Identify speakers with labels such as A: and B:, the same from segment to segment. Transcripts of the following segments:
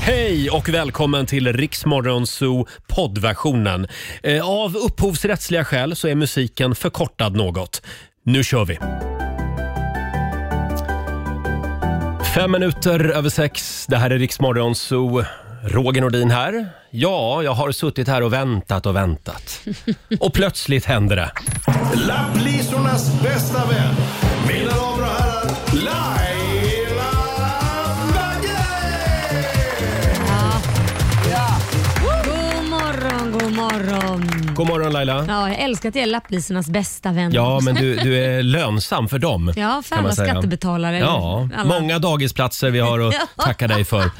A: Hej och välkommen till Riksmorgon Zoo poddversionen. Eh, Av upphovsrättsliga skäl så är musiken förkortad något. Nu kör vi! Fem minuter över sex. Det här är Riksmorgon Zoo. Roger Nordin här. Ja, jag har suttit här och väntat och väntat. Och plötsligt händer det.
B: Lapplisornas bästa vän. Mina damer och herrar, Laila Bagge!
C: God morgon, god morgon.
A: God morgon Laila.
C: Ja, jag älskar att jag är lapplisornas bästa vän.
A: Ja, men du, du är lönsam för dem.
C: Ja, för
A: kan man
C: alla
A: säga.
C: skattebetalare.
A: Ja,
C: alla.
A: många dagisplatser vi har att
C: Ja.
A: tacka dig för.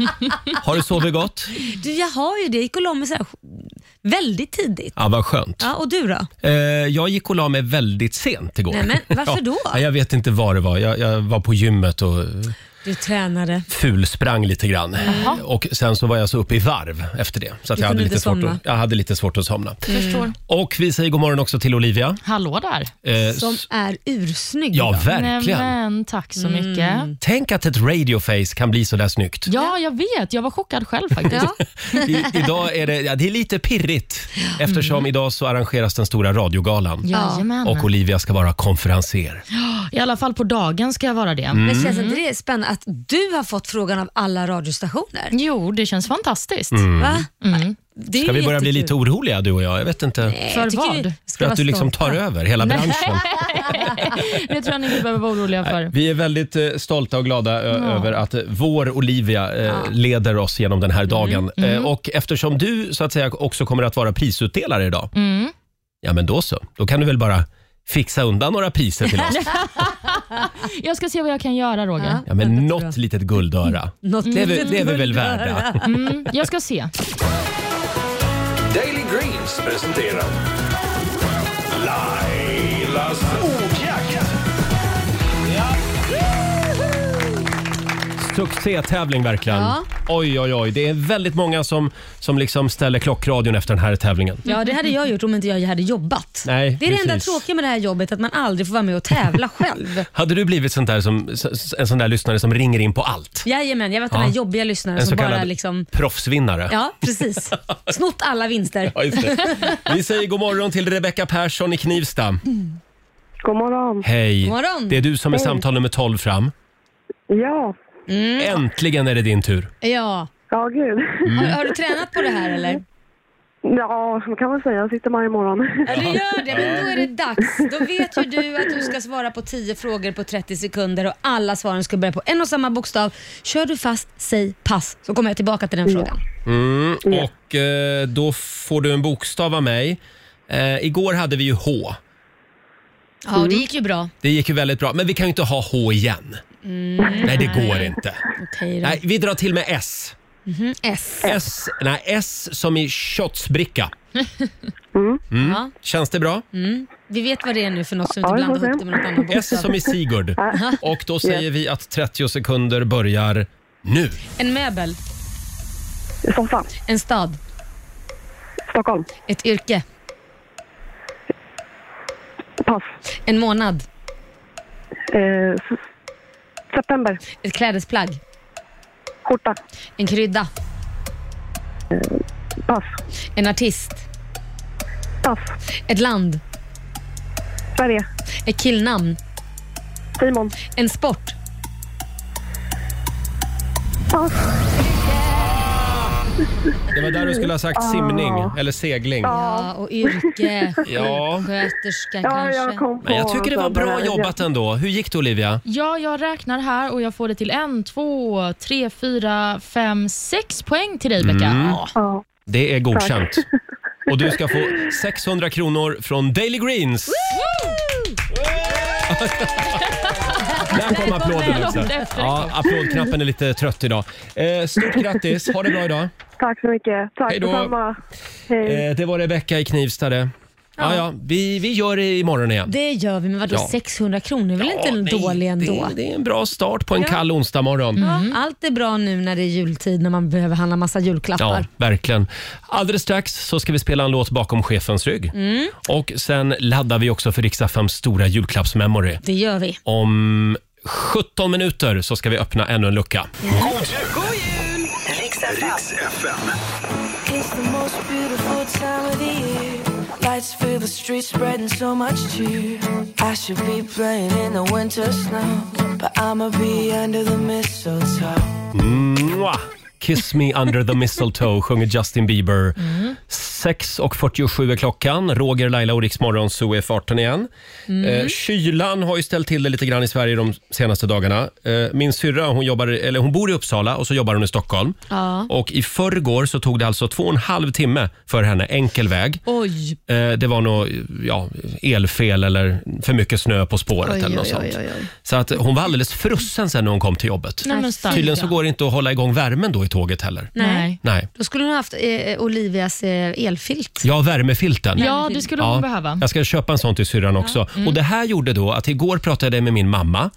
A: Har du sovit gott?
C: Du, jag har ju det. Jag gick och la mig så här, väldigt tidigt.
A: Ja, vad skönt.
C: Ja, och du då?
A: Eh, jag gick och la mig väldigt sent igår.
C: Nej, men varför då?
A: Ja, jag vet inte vad det var. Jag, jag var på gymmet och
C: Du tränade.
A: fulsprang lite grann. Och Sen så var jag så uppe i varv efter det. Så att
C: Du
A: jag, hade
C: kunde
A: lite
C: inte
A: svårt
C: somna. Mm.
A: att, jag hade lite svårt att somna.
D: Förstår.
A: Och Vi säger god morgon också till Olivia.
D: Mm. Hallå där.
A: Eh,
C: Som
A: s-
C: är ursnygg.
A: ja, verkligen.
D: Nämen, tack så mycket.
A: Tänk att ett radioface kan bli så där snyggt.
D: Ja, jag vet. Jag var chockad själv faktiskt.
C: Ja.
A: I, idag är det, ja, det är lite pirrigt eftersom
C: Mm.
A: idag så arrangeras den stora radiogalan.
D: Jajamän.
A: Och Olivia ska vara konferenser.
D: I alla fall på dagen ska jag vara det.
A: Mm.
C: Men känns inte det spännande att du har fått frågan av alla radiostationer?
D: Jo, det känns fantastiskt.
C: Va?
D: Mm.
C: Det är
A: Ska vi börja bli
C: jättekul.
A: lite oroliga du och jag? Jag vet inte.
C: Nej,
D: För
C: jag tycker
D: vad?
C: vi
A: För
C: ska
A: att
C: vara
A: du liksom
C: stolta.
A: tar över hela branschen.
D: Det tror jag ni inte behöver vara oroliga för.
A: Vi är väldigt eh, stolta och glada ö- över att eh, vår Olivia eh, leder oss genom den
C: Mm.
A: här dagen. Eh, och eftersom du så att säga också kommer att vara prisutdelare idag.
C: Mm.
A: Ja men då så. Då kan du väl bara fixa undan några priser till oss.
D: Jag ska se vad jag kan göra, Roger.
A: Ja men något litet guldöra.
C: Något
A: Det är, vi- det är vi väl värda.
D: Mm, jag ska se.
B: Daily Greens presenterar Lailas ordjakt.
A: Succétävling verkligen.
C: Ja.
A: Oj, oj, oj. Det är väldigt många som, som liksom ställer klockradion efter den här tävlingen.
C: Ja, det hade jag gjort om inte jag hade jobbat.
A: Nej,
C: det är det enda
A: precis.
C: tråkiga med det här jobbet, att man aldrig får vara med och tävla själv.
A: Hade du blivit sånt där som, s- en sån där lyssnare som ringer in på allt?
C: Jajamän, jag har varit den
A: Ja.
C: här jobbiga lyssnaren
A: En så
C: som bara
A: kallad
C: liksom...
A: proffsvinnare.
C: Ja, precis. Snott alla vinster.
A: Ja, just det. Vi säger god morgon till Rebecka Persson i Knivsta.
E: God morgon.
A: Hej!
C: God morgon.
A: Det är du som är samtal nummer 12 fram.
E: Ja,
C: Mm.
A: Äntligen är det din tur.
C: Ja.
E: ja gud.
A: Mm.
C: Har, har du tränat på det här eller?
E: Ja, man kan man säga. Jag sitter varje morgon.
C: Ja, du gör det. Men då är det dags. Då vet ju du att du ska svara på 10 frågor på 30 sekunder och alla svaren ska börja på en och samma bokstav. Kör du fast, säg pass. Så kommer jag tillbaka till den frågan.
A: Mm, och eh, då får du en bokstav av mig. Eh, igår hade vi ju H.
C: Ja, och det gick ju bra.
A: Det gick ju väldigt bra, men vi kan ju inte ha H igen.
C: Mm.
A: Nej, det går inte.
C: Okej då.
A: Nej, vi drar till med S.
C: S.
A: S, nej, S som i shotsbricka. Mm.
C: Ja.
A: Känns det bra?
C: Vi vet vad det är nu för något som vi
E: Ja,
C: inte
E: jag
C: blandar
E: får
C: ihop
E: se.
C: det med något annat
A: S som
C: bokstav.
A: i Sigurd. Och då säger vi att 30 sekunder börjar nu.
C: En möbel.
E: Soffan.
C: En stad.
E: Stockholm.
C: Ett yrke.
E: Pass.
C: En månad.
E: Eh, s- september.
C: Ett klädesplagg.
E: Skjorta.
C: En krydda.
E: Pass.
C: En artist.
E: Pass.
C: Ett land.
E: Sverige.
C: Ett killnamn.
E: Simon.
C: En sport.
E: Pass.
A: Det var där du skulle ha sagt simning eller segling.
C: Ja, och yrke.
A: Ja.
C: Sköterska
E: Ja,
C: kanske.
E: jag kom på.
A: Men jag tycker det var bra
E: Ja.
A: jobbat ändå. Hur gick det Olivia?
D: Ja, jag räknar här och jag får det till en, två, tre, fyra, fem, sex poäng till dig, Becka.
A: Mm.
D: Ja.
E: Ja.
A: Det är godkänt. Och du ska få 600 kronor från Daily Greens. Där kom applåden också. Ja, applådknappen är lite trött idag. Eh, stort grattis, ha det bra idag.
E: Tack så mycket. Tack
A: Hej då.
E: detsamma. Hej.
C: Mm.
A: Eh, det var Rebecka i Knivsta det. Ja, ja, vi, vi gör det imorgon igen.
C: Det gör vi, men vadå
A: Ja.
C: 600 kronor är väl
A: Ja,
C: inte
A: nej,
C: dålig ändå? Mm.
A: Det, det är en bra start på en kall onsdagmorgon.
C: Ja, Allt är bra nu när det är jultid när man behöver handla massa
A: Ja,
C: julklappar.
A: verkligen. Alldeles strax så ska vi spela en låt bakom chefens rygg.
C: Mm.
A: Och sen laddar vi också för Riksaffems stora julklappsmemory.
C: Det gör vi.
A: Om 17 minuter så ska vi öppna ännu en lucka.
F: God jul! Riks
B: Riks FM.
F: It's the most beautiful time of the year. Lights fill the streets, spreading so much cheer. I should be playing in the winter snow, but I'ma be under the mistletoe.
A: Mwah! Kiss me under the mistletoe sjunger Justin Bieber. 6.47 är klockan. Roger, Laila och Riksmorgon så är farten igen.
D: Mm.
A: Eh, kylan har ju ställt till det lite grann i Sverige de senaste dagarna. Eh, min syrra hon, jobbar, eller hon bor i Uppsala och så jobbar hon i Stockholm.
D: Ja.
A: Och I förrgår så tog det alltså två och en halv timme för henne enkel väg.
D: Oj.
A: Eh, Det var nog ja, elfel eller för mycket snö på spåret.
D: Oj,
A: eller något
D: oj,
A: sånt.
D: oj, oj, oj.
A: Så att hon var alldeles frusen sen när hon kom till jobbet.
D: Nej, men starkt.
A: Tydligen så går det inte att hålla igång värmen då i tåget heller.
D: Nej.
A: Nej.
C: Då skulle hon ha haft eh, Olivias eh, elfilt.
A: Ja, värmefilten.
D: Ja, det skulle hon behöva.
A: Jag ska köpa en sån till syrran också. Och det här gjorde då att igår pratade jag med min mamma.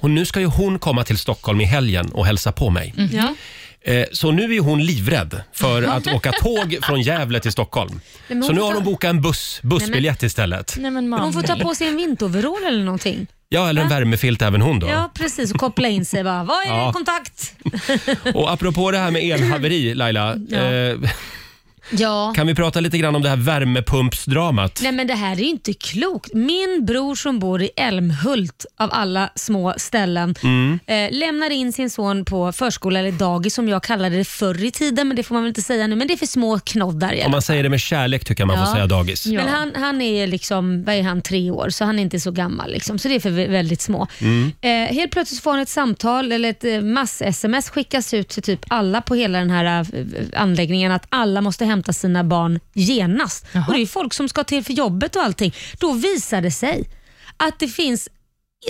A: Och nu ska ju hon komma till Stockholm i helgen och hälsa på mig.
C: Ja.
A: Eh, Så nu är hon livrädd för att åka tåg från Gävle till Stockholm.
C: men hon
A: Så nu
C: får
A: har
C: ta-
A: hon bokat en buss, bussbiljett istället.
D: Nej, men
C: Hon får ta
D: Manny.
C: på sig en vinteroverall eller någonting.
A: Ja, eller en värmefilt även hon då.
C: Ja, precis. Och koppla in sig bara. Vad är det?
A: Ja.
C: Kontakt?
A: Och apropå det här med elhaveri Laila. Eh,
C: Ja.
A: kan vi prata lite grann om det här värmepumpsdramat?
C: Nej men det här är inte klokt. Min bror som bor i Älmhult av alla små ställen eh, lämnar in sin son på förskola eller dagis som jag kallade det förr i tiden men det får man väl inte säga nu men det är för små knoddar. i alla
A: Om man säger det med kärlek tycker jag man får
C: Ja. Mm.
A: säga dagis.
D: Ja.
C: Men han, han är liksom, vad är han, tre år, så han är inte så gammal. Liksom, så det är för vä- väldigt små.
D: Mm.
C: Eh, helt plötsligt får han ett samtal, eller ett eh, mass-sms skickas ut till typ alla på hela den här eh, anläggningen att alla måste hämta sina barn genast.
D: Jaha.
C: Och det är ju folk som ska till för jobbet och allting. Då visar det sig att det finns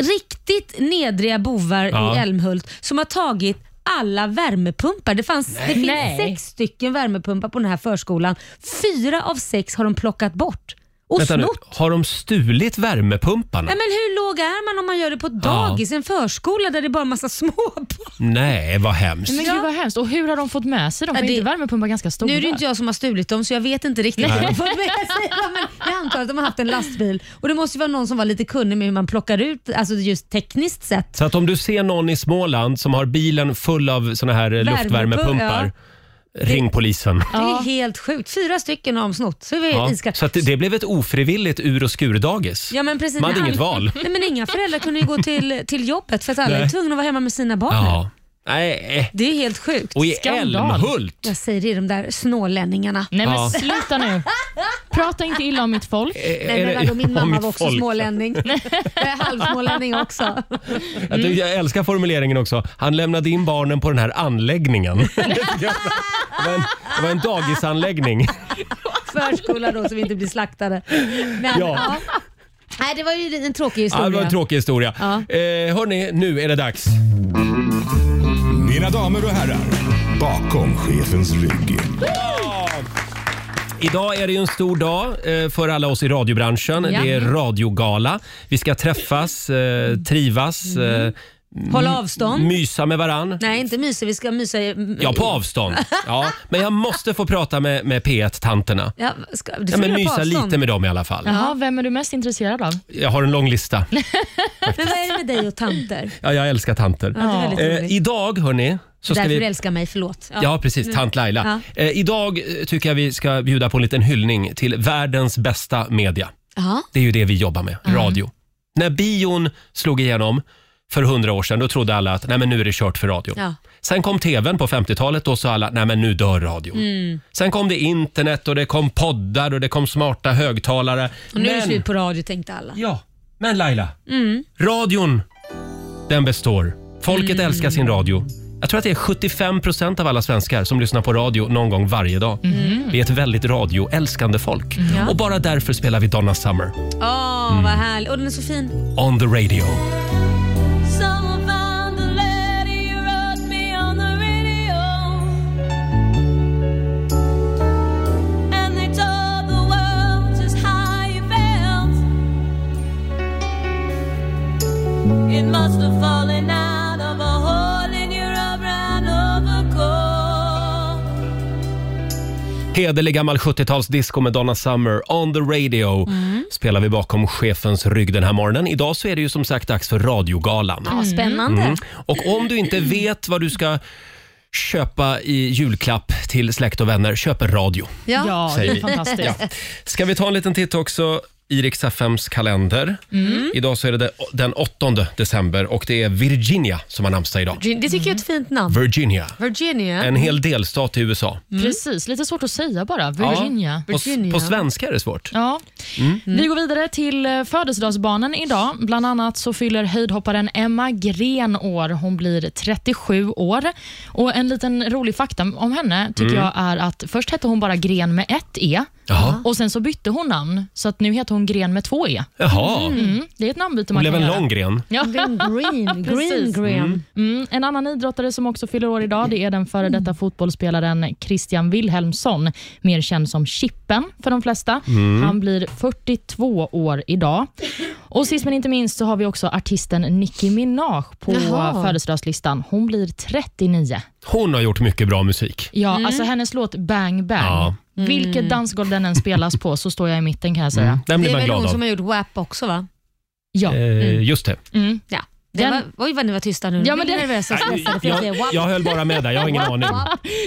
C: riktigt nedriga bovar
A: Ja.
C: i Älmhult som har tagit alla värmepumpar. Det, fanns, det finns
D: Nej.
C: sex stycken värmepumpar på den här förskolan. Fyra av sex har de plockat bort och
A: Vänta nu,
C: snott.
A: har de stulit värmepumparna?
C: Nej, men hur låg är man om man gör det på ett
A: Ja.
C: dagis, en förskola där det är bara massa små barn?
A: Nej, vad hemskt.
D: Men gud vad hemskt. Och hur har de fått med sig dem?
C: Ja,
D: För
C: det-
D: inte värmepumpar ganska stora?
C: Nu är det ju inte jag som har stulit dem så jag vet inte riktigt vad de har fått med sig. dem, Men jag antar att de har haft en lastbil och det måste ju vara någon som var lite kunnig med hur man plockar ut, alltså just tekniskt sett.
A: Så att om du ser någon i Småland som har bilen full av såna här eh, luftvärmepumpar, ring polisen.
C: Det är helt sjukt. Fyra stycken har de snott. Så, är vi
A: Ja.
C: iskalla.
A: Så att det- det blev ett ofrivilligt ur och skurdagis.
C: Ja, men precis.
A: Man hade
C: Men
A: inget
C: all-
A: val.
C: Nej, men inga föräldrar kunde ju gå till, till jobbet för att alla
A: Nej.
C: är tvungna att vara hemma med sina barn.
A: Ja. Nej.
C: Det är helt sjukt.
A: Och i
D: Skandal.
A: Älmhult.
C: Jag säger det, de där snålänningarna.
D: Nej men
A: Ja.
D: sluta nu. Prata inte illa om mitt folk.
A: Är-
C: Nej,
A: är
C: men
A: det-
C: vadå, min
A: om
C: mamma
A: mitt
C: var också
A: folk.
C: smålänning. Jag är halvsmålänning också.
A: Jag, tycker-
C: Mm.
A: jag älskar formuleringen också. Han lämnade in barnen på den här anläggningen. det, var en, det var en dagisanläggning.
C: Förskola då, så vi inte blir slaktade. Men,
A: Ja.
C: ja. Nej, det var ju en tråkig
A: Ja,
C: historia.
A: det var en tråkig historia.
C: Ja.
A: Eh, hörni, nu är det dags.
B: Mina damer och herrar, bakom chefens rygg.
A: Idag är det ju en stor dag eh, för alla oss i radiobranschen.
D: Ja.
A: Det är radiogala. Vi ska träffas, eh, trivas, eh,
C: Håll Mm. avstånd.
A: mysa med varann.
C: Nej, inte mysa. Vi ska mysa i...
A: Ja, på avstånd. Ja, men jag måste få prata med, med P1-tanterna.
C: Ja, ska, du
A: Ja,
C: får
A: men
C: göra på
A: mysa
C: avstånd.
A: lite med dem i alla fall.
D: Jaha, vem är du mest intresserad av?
A: Jag har en lång lista.
C: Men vad är det med dig och tanter?
A: Ja, jag älskar tanter.
C: Ja, det är väldigt
A: Eh,
C: roligt.
A: idag, hörni, så ska
C: Därför Mm. du
A: vi...
C: älskar mig, förlåt.
A: Ja, precis. Tant Laila. Eh, idag eh, tycker jag vi ska bjuda på en liten hyllning till världens bästa media.
C: Ja.
A: Det är ju det vi jobbar med,
C: Mm.
A: radio. När bion slog igenom för hundra år sedan, då trodde alla att nej, men nu är det kört för radio.
C: Ja.
A: Sen kom tvn på 50-talet, då sa alla nej, men nu dör radio.
C: Mm.
A: Sen kom det internet och det kom poddar och det kom smarta högtalare.
C: Och nu är det
A: men,
C: slut Mm. på radio, tänkte alla.
A: ja, men Laila, radion den består. Folket
C: Mm.
A: älskar sin radio. Jag tror att det är 75 procent av alla svenskar som lyssnar på radio någon gång varje dag.
C: Mm.
A: Vi är ett väldigt radioälskande folk. Och bara därför spelar vi Donna Summer.
C: Åh, vad härligt. Och den är så fin.
A: on the radio.
F: Someone found a letter you wrote me on the radio. And they told the world just how you felt. It must have fallen out of a hole in your rubber and overcoat.
A: Hederlig gammal 70-talsdisco med Donna Summer, on the radio,
D: Mm.
A: spelar vi bakom chefens rygg den här morgonen. Idag så är det ju
D: Mm.
A: som sagt dags för radiogalan.
C: Ja, spännande.
A: Och om du inte vet vad du ska köpa i julklapp till släkt och vänner, köp en radio.
C: Ja.
D: Ja, det
A: Säger
D: är
A: vi.
D: fantastiskt.
A: Ja. Ska vi ta en liten titt också i Rix FMs kalender? Idag så är det den 8 december och det är Virginia som har namnsdag idag.
C: Det tycker jag är ett fint namn.
A: Virginia,
C: Virginia.
A: en hel delstat i USA.
D: Precis, lite svårt att säga bara. Virginia.
A: På,
C: Virginia.
A: på svenska är det svårt.
D: Ja. Vi går vidare till eh, födelsedagsbarnen idag. Bland annat så fyller höjdhopparen Emma Gren år. Hon blir 37 år. Och En liten rolig fakta om henne tycker jag är att först hette hon bara Gren med ett E
A: Jaha.
D: och sen så bytte hon namn så att nu heter hon Gren med två E.
A: Jaha.
D: Mm. Det är ett namnbyte
A: Det
D: man
A: blev
D: kan
A: en
D: göra.
C: Mm.
A: lång gren.
D: Ja.
C: Green, green, green,
D: Precis.
C: green.
D: Mm. En annan idrottare som också fyller år idag det är den före
C: Mm.
D: detta fotbollsspelaren Christian Wilhelmsson, mer känd som Chippen för de flesta.
A: Mm.
D: Han blir 42 år idag. Och Sist men inte minst så har vi också artisten Nicki Minaj på
C: Jaha.
D: födelsedagslistan. Hon blir 39.
A: Hon har gjort mycket bra musik.
D: Ja,
C: Mm.
D: alltså Hennes låt Bang Bang,
A: Ja.
D: vilket dansgolv den än spelas på så står jag i mitten kan jag säga.
A: Den
C: Det
A: blir
C: är
A: man
C: väl hon
A: glad
C: som
A: av.
C: har gjort WAP också va?
D: Ja.
A: Eh, just det.
D: Mm.
C: Ja. Det
D: Den-
C: var, oj vad ni var tysta nu.
D: Ja,
C: Ja,
D: men
C: men det
D: den-
C: nervösa och stressade för att
A: Jag,
C: säga WAP.
A: jag höll bara med där, jag har ingen aning.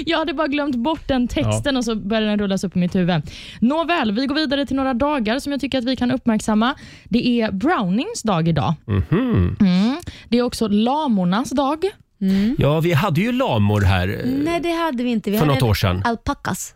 D: Jag hade bara glömt bort den texten och så började den rullas upp i mitt huvud. Nåväl, vi går vidare till några dagar som jag tycker att vi kan uppmärksamma. Det är Brownings dag idag. Mm. Det är också lamornas dag.
C: Mm.
A: Ja, vi hade ju lamor här eh,
C: Nej Mm. det hade vi inte. Vi
A: för
C: hade
A: något
C: en
A: år sedan.
C: alpacas.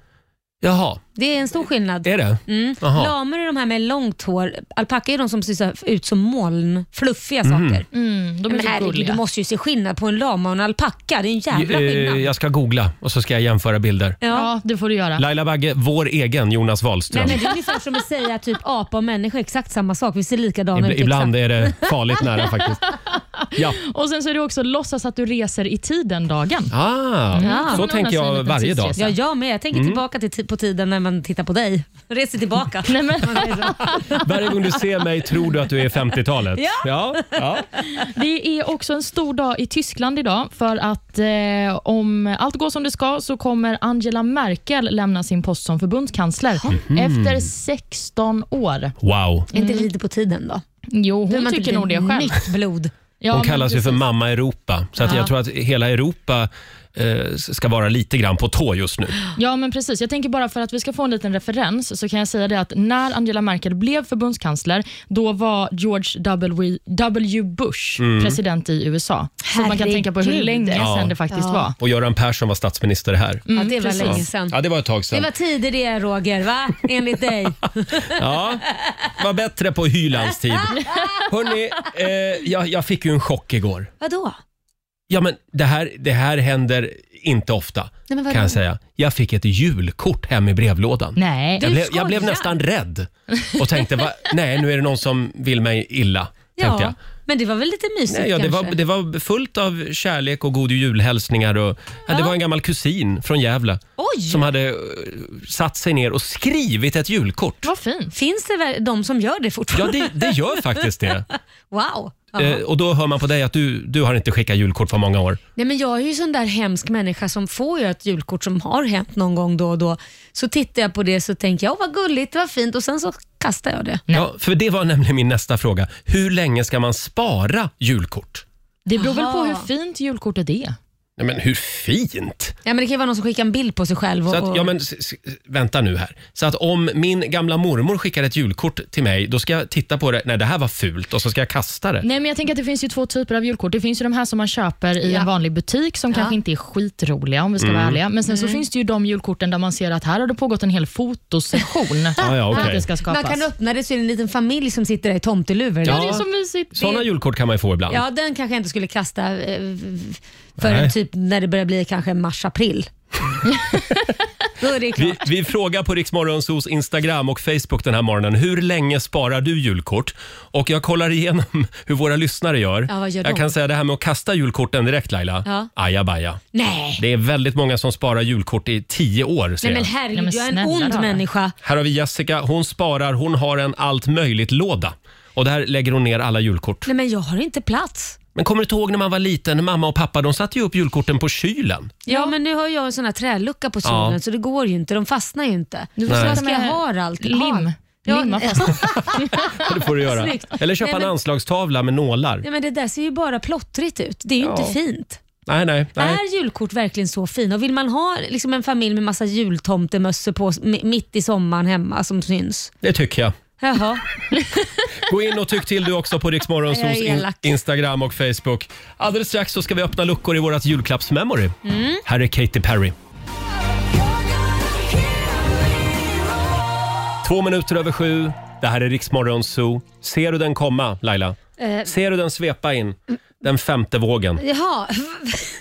A: Jaha,
C: Det är en stor skillnad.
A: är det?
C: Mm.
A: Jaha.
C: Lamor är de här med långt hår. Alpacka är de som ser så här ut som moln, fluffiga
A: Mhm.
C: saker.
D: Mm, de är
C: Men
D: så
C: herregud, du
D: gulliga.
C: måste ju se skillnad på en lama och en alpacka. Det är en jävla
A: Eh,
C: skillnad.
A: Jag ska googla och så ska jag jämföra bilder.
C: Ja.
D: Ja, det får du göra.
A: Laila Bagge, vår egen Jonas
C: Nej,
A: Wahlström.
C: men det är ungefär som att säga typ apa och människa, exakt samma sak. Vi ser likadana
A: Ibl-
C: ut.
A: ibland
C: exakt.
A: är det farligt nära faktiskt. Ja.
D: Och Sen så är det också låtsas att du reser i tiden-dagen.
A: Ah,
C: Ja.
A: Så tänker
D: Man ordnar sig en
A: jag
D: liten
A: varje dag.
D: tidsresa.
C: Ja, jag med. Jag
A: Mm.
C: tänker tillbaka till ti- på tiden när man tittar på dig. Reser tillbaka.
D: Nej, men,
A: Varje gång du ser mig tror du att du är 50-talet.
C: Ja.
A: Ja, ja.
D: det är också en stor dag i Tyskland idag för att eh, om allt går som det ska så kommer Angela Merkel lämna sin post som förbundskansler efter 16 år.
A: Wow.
C: Är inte lite på tiden då?
D: Jo,
C: Behöver
D: hon
C: man inte
A: typ
D: tycker
C: bli
D: nog det själv.
C: Nytt blod.
D: Ja,
A: Hon
D: men
A: kallas ju för
D: precis.
A: Mamma Europa. Så att
D: Ja.
A: jag tror att hela Europa eh, ska vara lite grann på tå just nu.
D: Ja, men precis. Jag tänker bara för att vi ska få en liten referens så kan jag säga det att när Angela Merkel blev förbundskansler, då var George W. W. Bush
A: Mm.
D: president i USA. Så man kan
C: Herregud.
D: tänka på hur länge
A: Ja.
D: sedan det faktiskt
C: Ja.
D: var.
A: Och Göran Persson var statsminister här.
C: Ja, Mm, det var
D: precis.
C: länge sedan.
A: Mm, Ja, det var ett tag
C: Det
A: sedan.
C: var tider det Roger, va? Enligt dig.
A: Ja, var bättre på Hylands tid. Hörrni, eh, jag, jag fick ju en chock igår.
C: Vadå?
A: Ja, men det här, det här händer inte ofta,
C: men vadå?
A: kan jag säga. Jag fick ett julkort hem i brevlådan.
D: Nej.
A: Jag blev, jag
C: skojar.
A: blev nästan rädd och tänkte, va, nej nu är det någon som vill mig illa. Tänkte jag.
C: Ja, men det var väl lite mysigt
A: Nej, ja, det, var,
C: kanske?
A: det var fullt av kärlek och god julhälsningar. Och, ja, det var en gammal kusin från Gävle
C: Oj!
A: som hade eh, satt sig ner och skrivit ett julkort.
D: Vad fint.
C: Finns det väl de som gör det
A: Ja,
C: fortfarande?
A: det, det gör faktiskt det.
C: Wow! Ja.
A: Eh, och Då hör man på dig att du, du har inte skickat julkort på många år.
C: Nej, men jag är ju sån där hemsk människa som får ju ett julkort som har hänt någon gång då och då. Så tittar jag på det så tänker jag, "Åh, vad gulligt, vad fint och sen så kastar jag det.
A: Ja, för Det var nämligen min nästa fråga. Hur länge ska man spara julkort?
D: Det beror väl på
C: Jaha.
D: hur fint julkortet är.
A: Nej, men hur fint!
C: Ja, men det kan ju vara någon som skickar en bild på sig själv. Och,
A: Så att, ja, men, s- s- vänta nu här. Så att om min gamla mormor skickar ett julkort till mig, då ska jag titta på det. Nej, det här var fult och så ska jag kasta det.
D: Nej, men jag tänker att det finns ju två typer av julkort. Det finns ju de här som man köper i
C: Ja. Mm.
D: en vanlig butik som kanske inte är skitroliga om vi ska vara
A: Mm.
D: ärliga. Men sen så finns det ju de julkorten där man ser att här har det pågått en hel fotosession.
A: Ja, ja,
D: för att
A: okej.
D: det ska skapas.
C: man kan öppna det så är det en liten familj som sitter där i tomteluvor.
A: Ja.
D: Ja, det är så mysigt.
A: Såna julkort kan man ju få ibland.
C: Ja, den kanske jag inte skulle kasta eh, förrän
A: Nej.
C: typ när det börjar bli kanske mars-april.
D: Mm.
C: Då är det klart.
A: Vi, vi frågar på Riksmorgonsos Instagram och Facebook den här morgonen. Hur länge sparar du julkort? Och jag kollar igenom hur våra lyssnare gör.
C: Ja, vad gör
A: jag
C: de?
A: kan säga det här med att kasta julkorten direkt Laila.
C: Ja.
A: Ajabaja.
C: Nej.
A: Det är väldigt många som sparar julkort i tio år. ser
C: Nej men
A: jag.
C: herregud,
D: Nej, men
C: jag är en
D: snälla
C: ond
D: rara.
C: människa.
A: Här har vi Jessica. Hon sparar. Hon har en allt möjligt-låda. Och där lägger hon ner alla julkort.
C: Nej men jag har inte plats.
A: Men kommer du inte ihåg när man var liten? Mamma och pappa de satte ju upp julkorten på kylen.
C: Ja, men nu har jag en sån här trälucka på solen så det går ju inte. De fastnar ju inte. Du
D: får
C: så
D: sätta
C: vad ska jag
D: med
C: ha allt?
D: Lim.
C: Ha. Ja,
D: Limma
C: nej,
D: fast.
A: Det får du göra.
C: Snyggt.
A: Eller köpa
C: Nej, men-
A: en anslagstavla med nålar.
C: nej, men det där ser ju bara plottrigt ut. Det är ju
A: Ja.
C: inte fint.
A: nej, nej. nej.
C: Är julkort verkligen så fina? Och vill man ha liksom en familj med massa jultomtemössor på s- mi- mitt i sommaren hemma som syns?
A: Det tycker jag.
C: Jaha.
A: Gå in och tyck till du också på
C: Jag
A: Riksmorgonsols
C: är
A: in
C: elak.
A: Instagram och Facebook. Alldeles strax så ska vi öppna luckor i vårt julklappsmemory.
C: Mm.
A: Här är Katy Perry. Två minuter över sju. Det här är Riksmorgon Zoo. Ser du den komma, Laila?
C: Eh,
A: Ser du den svepa in? Den femte vågen.
C: Jaha.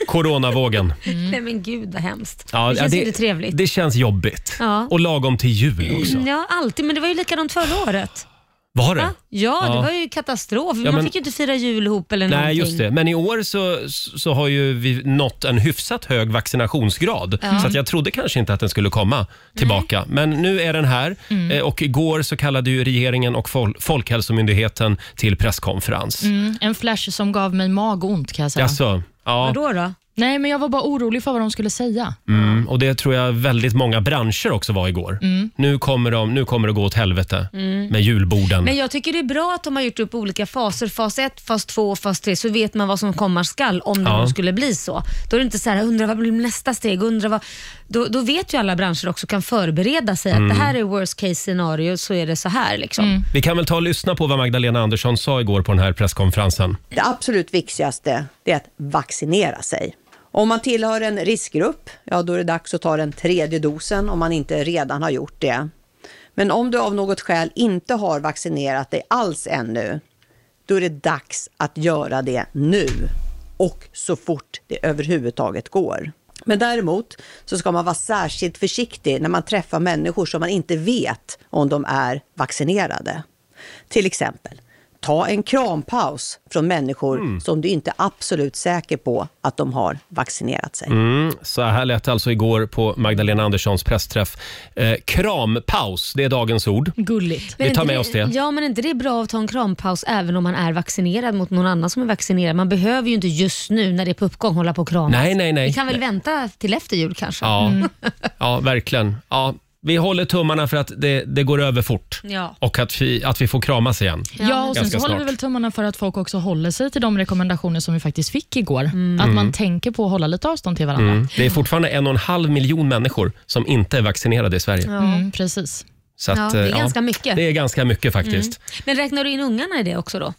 A: Coronavågen.
C: Nej men gud vad hemskt.
A: Mm. Ja,
C: det känns
A: ja,
C: inte trevligt.
A: Det känns jobbigt.
C: Ja.
A: Och lagom till jul också.
C: Ja, alltid. Men det var ju likadant förra året.
A: Var det?
C: Va? Ja, det
A: Ja.
C: var ju katastrof.
A: Ja, men-
C: Man fick ju inte fira jul ihop eller
A: Nej,
C: någonting.
A: just det. Men i år så, så har ju vi nått en hyfsat hög vaccinationsgrad. Så att jag trodde kanske inte att den skulle komma tillbaka. Men nu är den här.
C: Mm.
A: Eh, Och igår så kallade ju regeringen och fol- Folkhälsomyndigheten till presskonferens.
D: Mm, en flash som gav mig magont kan jag säga.
A: Alltså, ja,
C: Vadå då?
D: Nej, men jag var bara orolig för vad de skulle säga.
A: mm, och det tror jag väldigt många branscher också var igår.
C: Mm.
A: Nu, kommer de, nu kommer det gå åt helvete med julborden.
C: Men jag tycker det är bra att de har gjort upp olika faser. Fas 1, fas 2 och fas 3. Så vet man vad som komma skall om det
A: Ja.
C: nu skulle bli så. Då är det inte så här, undrar vad blir nästa steg? Undrar vad... då, då vet ju alla branscher också kan förbereda sig.
A: Mm.
C: Att det här är worst case scenario, så är det så här. Liksom.
A: Vi kan väl ta och lyssna på vad Magdalena Andersson sa igår på den här presskonferensen.
G: Det absolut viktigaste det är att vaccinera sig. Om man tillhör en riskgrupp, ja då är det dags att ta den tredje dosen om man inte redan har gjort det. Men om du av något skäl inte har vaccinerat dig alls ännu, då är det dags att göra det nu och så fort det överhuvudtaget går. Men däremot så ska man vara särskilt försiktig när man träffar människor som man inte vet om de är vaccinerade. Till exempel, ta en krampaus från människor
H: Mm.
G: som du inte är absolut säker på att de har vaccinerat sig.
H: Mm.
A: Så här lät det alltså igår på Magdalena Anderssons pressträff. Eh, krampaus, det är dagens ord.
D: Gulligt.
A: Vi
C: Men
A: tar
C: inte
A: med oss det.
C: Ja, men inte det är bra att ta en krampaus även om man är vaccinerad mot någon annan som är vaccinerad. Man behöver ju inte just nu när det är på uppgång hålla på och kramas.
A: Nej, nej, nej.
C: Vi kan väl vänta Mm. till efter jul kanske?
A: Ja, ja verkligen. Ja, vi håller tummarna för att det, det går över fort
C: Ja.
A: och att vi, att vi får kramas igen.
D: Ja, och sen
A: Ganska
D: så håller vi
A: snart.
D: väl tummarna för att folk också håller sig till de rekommendationer som vi faktiskt fick igår.
A: Mm.
D: Att man tänker på att hålla lite avstånd till varandra. Mm.
A: Det är fortfarande en och en halv miljon människor som inte är vaccinerade i Sverige.
D: Mm, precis.
A: Så att,
C: Ja, det är
A: eh,
C: ganska mycket.
A: Det är ganska mycket faktiskt.
C: Men räknar du in ungarna i det också då? Mm.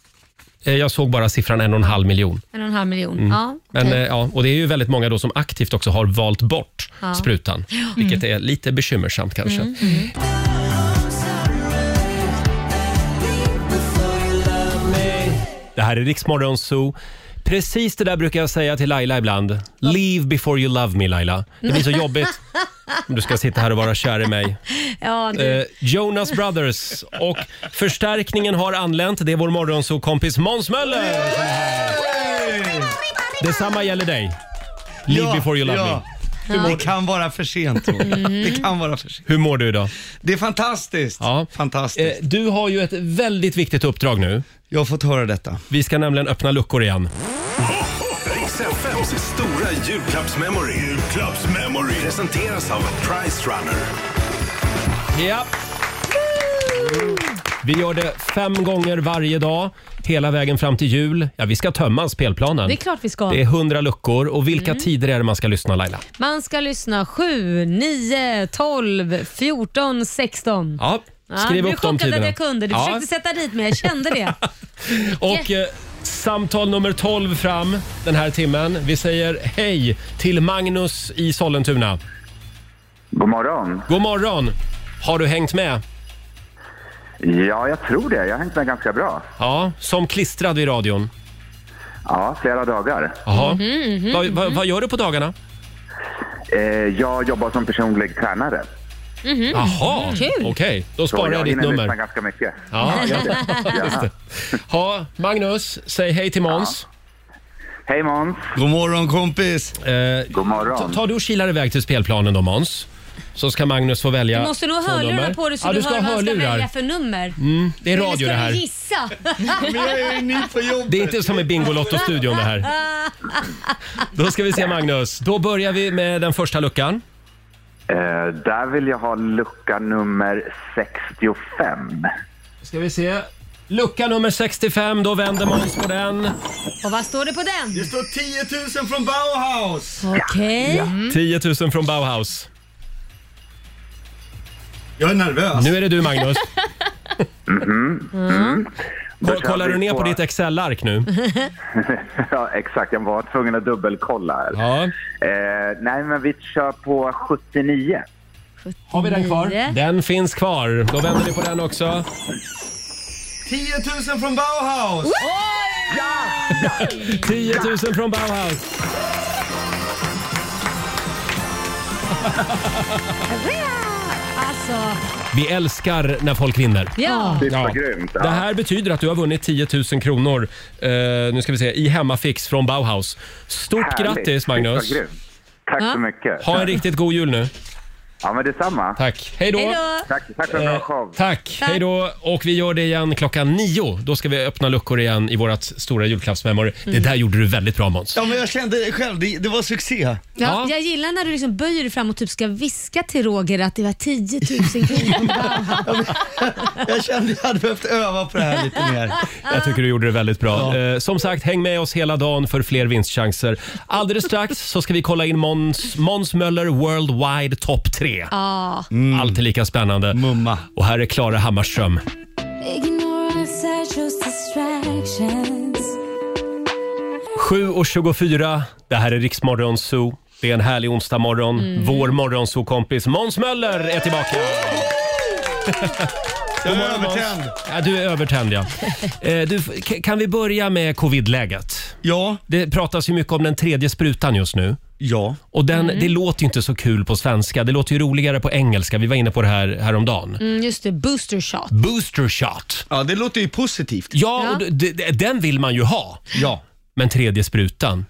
A: Eh, Jag såg bara siffran en och en halv miljon.
C: En och en halv miljon? Ja,
A: Men,
C: okej.
A: eh, ja, och det är ju väldigt många då som aktivt också har valt bort
C: Ja. Mm.
A: sprutan, vilket är lite bekymmersamt kanske.
F: Oh,
A: Det här är Riksmorgon Zoo. Precis det där brukar jag säga till Laila ibland. Leave before you love me, Laila. Det blir så jobbigt om du ska sitta här och vara kär i mig.
C: ja, du,
A: Eh, Jonas Brothers och förstärkningen har anlänt. Det är vår morgonsokompis Måns Möller! som är här. Detsamma gäller dig. Leave before you love me.
H: Det kan vara för sent. Roger. Det kan vara för sent.
A: Hur mår du idag?
H: Det är fantastiskt.
A: Ja. Eh,
H: Fantastiskt.
A: Du har ju ett väldigt viktigt uppdrag nu.
H: Jag har fått höra detta.
A: Vi ska nämligen öppna luckor igen.
B: Riks FMs stora julklappsmemory. Julklappsmemory. Presenteras av Price Runner.
A: Ja. Vi gör det fem gånger varje dag, hela vägen fram till jul. Ja, vi ska tömma spelplanen.
C: det är klart Mm. vi ska.
A: Det är hundra luckor. Och vilka tider är det man ska lyssna, Laila?
C: Man ska lyssna 7, 9, 12, 14, 16.
A: Ja, skriv
C: du
A: upp de tiderna.
C: att jag kunde. Du
A: Ja.
C: försökte sätta dit mig, jag kände det.
A: Och eh, samtal nummer 12 fram den här timmen. Vi säger hej till Magnus i Sollentuna.
I: God morgon.
A: God morgon! Har du hängt med?
I: Ja, jag tror det. Jag har hängt med ganska bra.
A: Ja, som klistrad vid radion.
I: Ja, flera dagar.
A: Jaha.
C: Mhm,
A: Vad- vad- vad gör du på dagarna?
I: Eh, jag jobbar som personlig tränare.
A: Jaha, okej.
C: Mm. Kul.
A: Då
I: Så
A: sparar
I: jag
A: jag ditt
I: hinner lyssna
A: nummer.
I: ganska mycket.
A: Ja,
I: Jag vet. Ja.
A: ha, Magnus, säg hej till Måns.
I: Hej Måns.
H: God morgon kompis.
A: Eh,
I: God
A: ta,
I: morgon.
A: ta du och kilar iväg till spelplanen då Måns. Så ska Magnus få välja
C: Du måste nog ha
A: två nummer.
C: hörlurar på dig så
A: ja,
C: du,
A: du ska
C: hör
A: ha
C: vad han ska
A: hörlurar.
C: välja för nummer.
A: Det är
C: Eller
A: radio
C: ska
A: det
C: du
A: här.
C: gissa?
H: Men jag är ju ny på jobbet.
A: Det är inte som i Bingolotto-studion det här. Då ska vi se Magnus. Då börjar vi med den första luckan.
I: Eh, där vill jag ha lucka nummer 65.
A: Ska vi se. Lucka nummer 65, då vänder Måns på den.
C: Och vad står det på den?
H: Det står 10 000 från Bauhaus!
C: Okej.
A: 10 000 från Bauhaus.
H: Jag är nervös.
A: Nu är det du Magnus.
I: Mhm. Mm. Då
A: Ko-
I: kör
A: Kollar
I: vi
A: du ner på
I: på-
A: ditt Excel-ark nu?
I: ja, exakt. Jag var tvungen att dubbelkolla här.
A: Ja.
I: Eh, nej, men vi kör på 79.
A: Har vi den kvar? Mm.
C: Nio.
A: Den finns kvar. Då vänder vi på den också.
H: 10 000 från Bauhaus!
A: 10 000 från Bauhaus.
C: Alltså,
A: Vi älskar när folk vinner.
C: ja.
I: Det är
A: Ja.
I: så grymt. Ja.
A: Det här betyder att du har vunnit 10 000 kronor eh, nu ska vi se, i hemmafix från Bauhaus. Stort
I: Härligt.
A: grattis Magnus!
I: Det är så grymt. Tack
C: Ja.
I: så mycket.
A: Ha en riktigt god jul nu.
I: Ja, men detsamma.
A: Tack. Hej då!
C: Hej då.
I: Tack, tack för en bra
A: Eh,
I: show.
A: Tack, hej då. Och vi gör det igen klockan nio. Då ska vi öppna luckor igen i vårt stora julklappsmemory. Det där gjorde du väldigt bra Måns.
H: Ja, men jag kände det själv. Det, det var succé.
A: Ja.
C: Ja, jag gillar när du liksom böjer dig fram och typ ska viska till Roger att det var 10 000 kronor.
H: Jag kände jag hade behövt öva på det här lite mer.
A: Jag tycker du gjorde det väldigt bra. Eh, som sagt, häng med oss hela dagen för fler vinstchanser. Alldeles strax så ska vi kolla in Måns Måns Möller Worldwide Top Mm. 3.
C: Ja.
A: Alltid lika spännande.
H: Mumma.
A: Och här är Klara Hammarström.
F: distractions.
A: 7.24, det här är Riksmorgon Zoo. Det är en härlig onsdagmorgon. Vår morgonzoo-kompis Måns Möller är tillbaka.
H: Jag är övertänd.
A: Ja, du är övertänd ja. Eh, du, k- kan vi börja med covidläget?
H: Ja.
A: Det pratas ju mycket om den tredje sprutan just nu.
H: Ja.
A: Och den,
C: Mm.
A: Det låter ju inte så kul på svenska. Det låter ju roligare på engelska. Vi var inne på det här häromdagen.
C: Mm, just det, booster shot.
A: Booster shot.
H: Ja, det låter ju positivt.
A: Ja,
C: Ja.
A: och d- d- d- den vill man ju ha.
H: Ja.
A: Men tredje sprutan,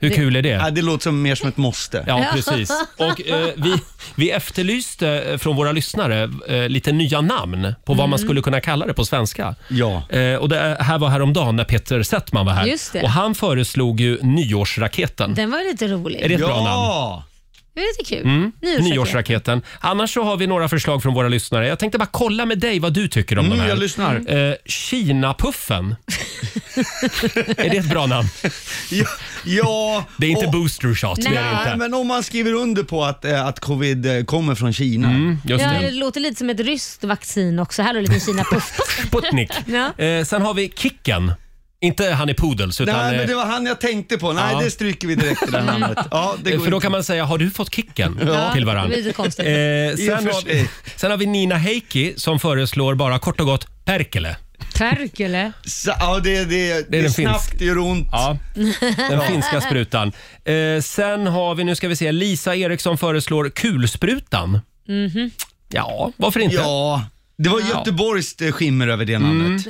A: hur kul är
H: ja
A: det?
H: det låter som, mer som ett måste.
A: Ja, precis. Och eh, vi, vi efterlyste eh, från våra lyssnare eh, lite nya namn på vad man
C: Mm.
A: skulle kunna kalla det på svenska.
H: Ja.
A: Eh, och det här var häromdagen när Peter Settman var här.
C: Just det.
A: Och han föreslog ju nyårsraketen.
C: Den var ju lite
A: Är det Mm,
C: rolig.
A: ett bra namn?
H: Ja!
C: Det var lite kul.
A: Nyårsraketen. Annars så har vi några förslag från våra lyssnare. Jag tänkte bara kolla med dig vad du tycker om de
H: Mm,
A: här.
H: jag lyssnar.
A: Eh, Kinapuffen. är det ett bra namn?
H: Ja. ja.
A: Det är inte
H: Och-
A: booster shot. Det är det
H: Nej,
A: inte.
H: men om man skriver under på att, eh, att covid eh, kommer från Kina.
A: Just
C: Ja, det
A: det.
C: låter lite som ett ryskt vaccin också. Här har du lite Kina puff puff.
A: Sputnik.
C: Ja.
A: Eh, sen har vi Kicken. Inte han i Pudels utan...
H: Nej,
A: eh,
H: men det var han jag tänkte på. Nej,
A: Ja. Eh,
H: det stryker vi direkt i det här namnet. Ja, det går
A: För då
H: inte.
A: kan man säga, har du fått kicken? Till
C: Det
A: varandra.
C: blir lite konstigt.
A: Eh,
H: I och
A: sen,
H: för
A: har vi,
H: sig.
A: sen har vi Nina Heikki som föreslår bara kort och gott Perkele.
C: Perkele.
H: Så, ja, det, det, det, är
A: den
H: snabbt, det gör ont.
A: Ja, den finska sprutan. Eh, sen har vi, nu ska vi se, Lisa Eriksson föreslår kulsprutan. Ja, varför inte?
H: Ja, det var Göteborgs eh, skimmer över det namnet.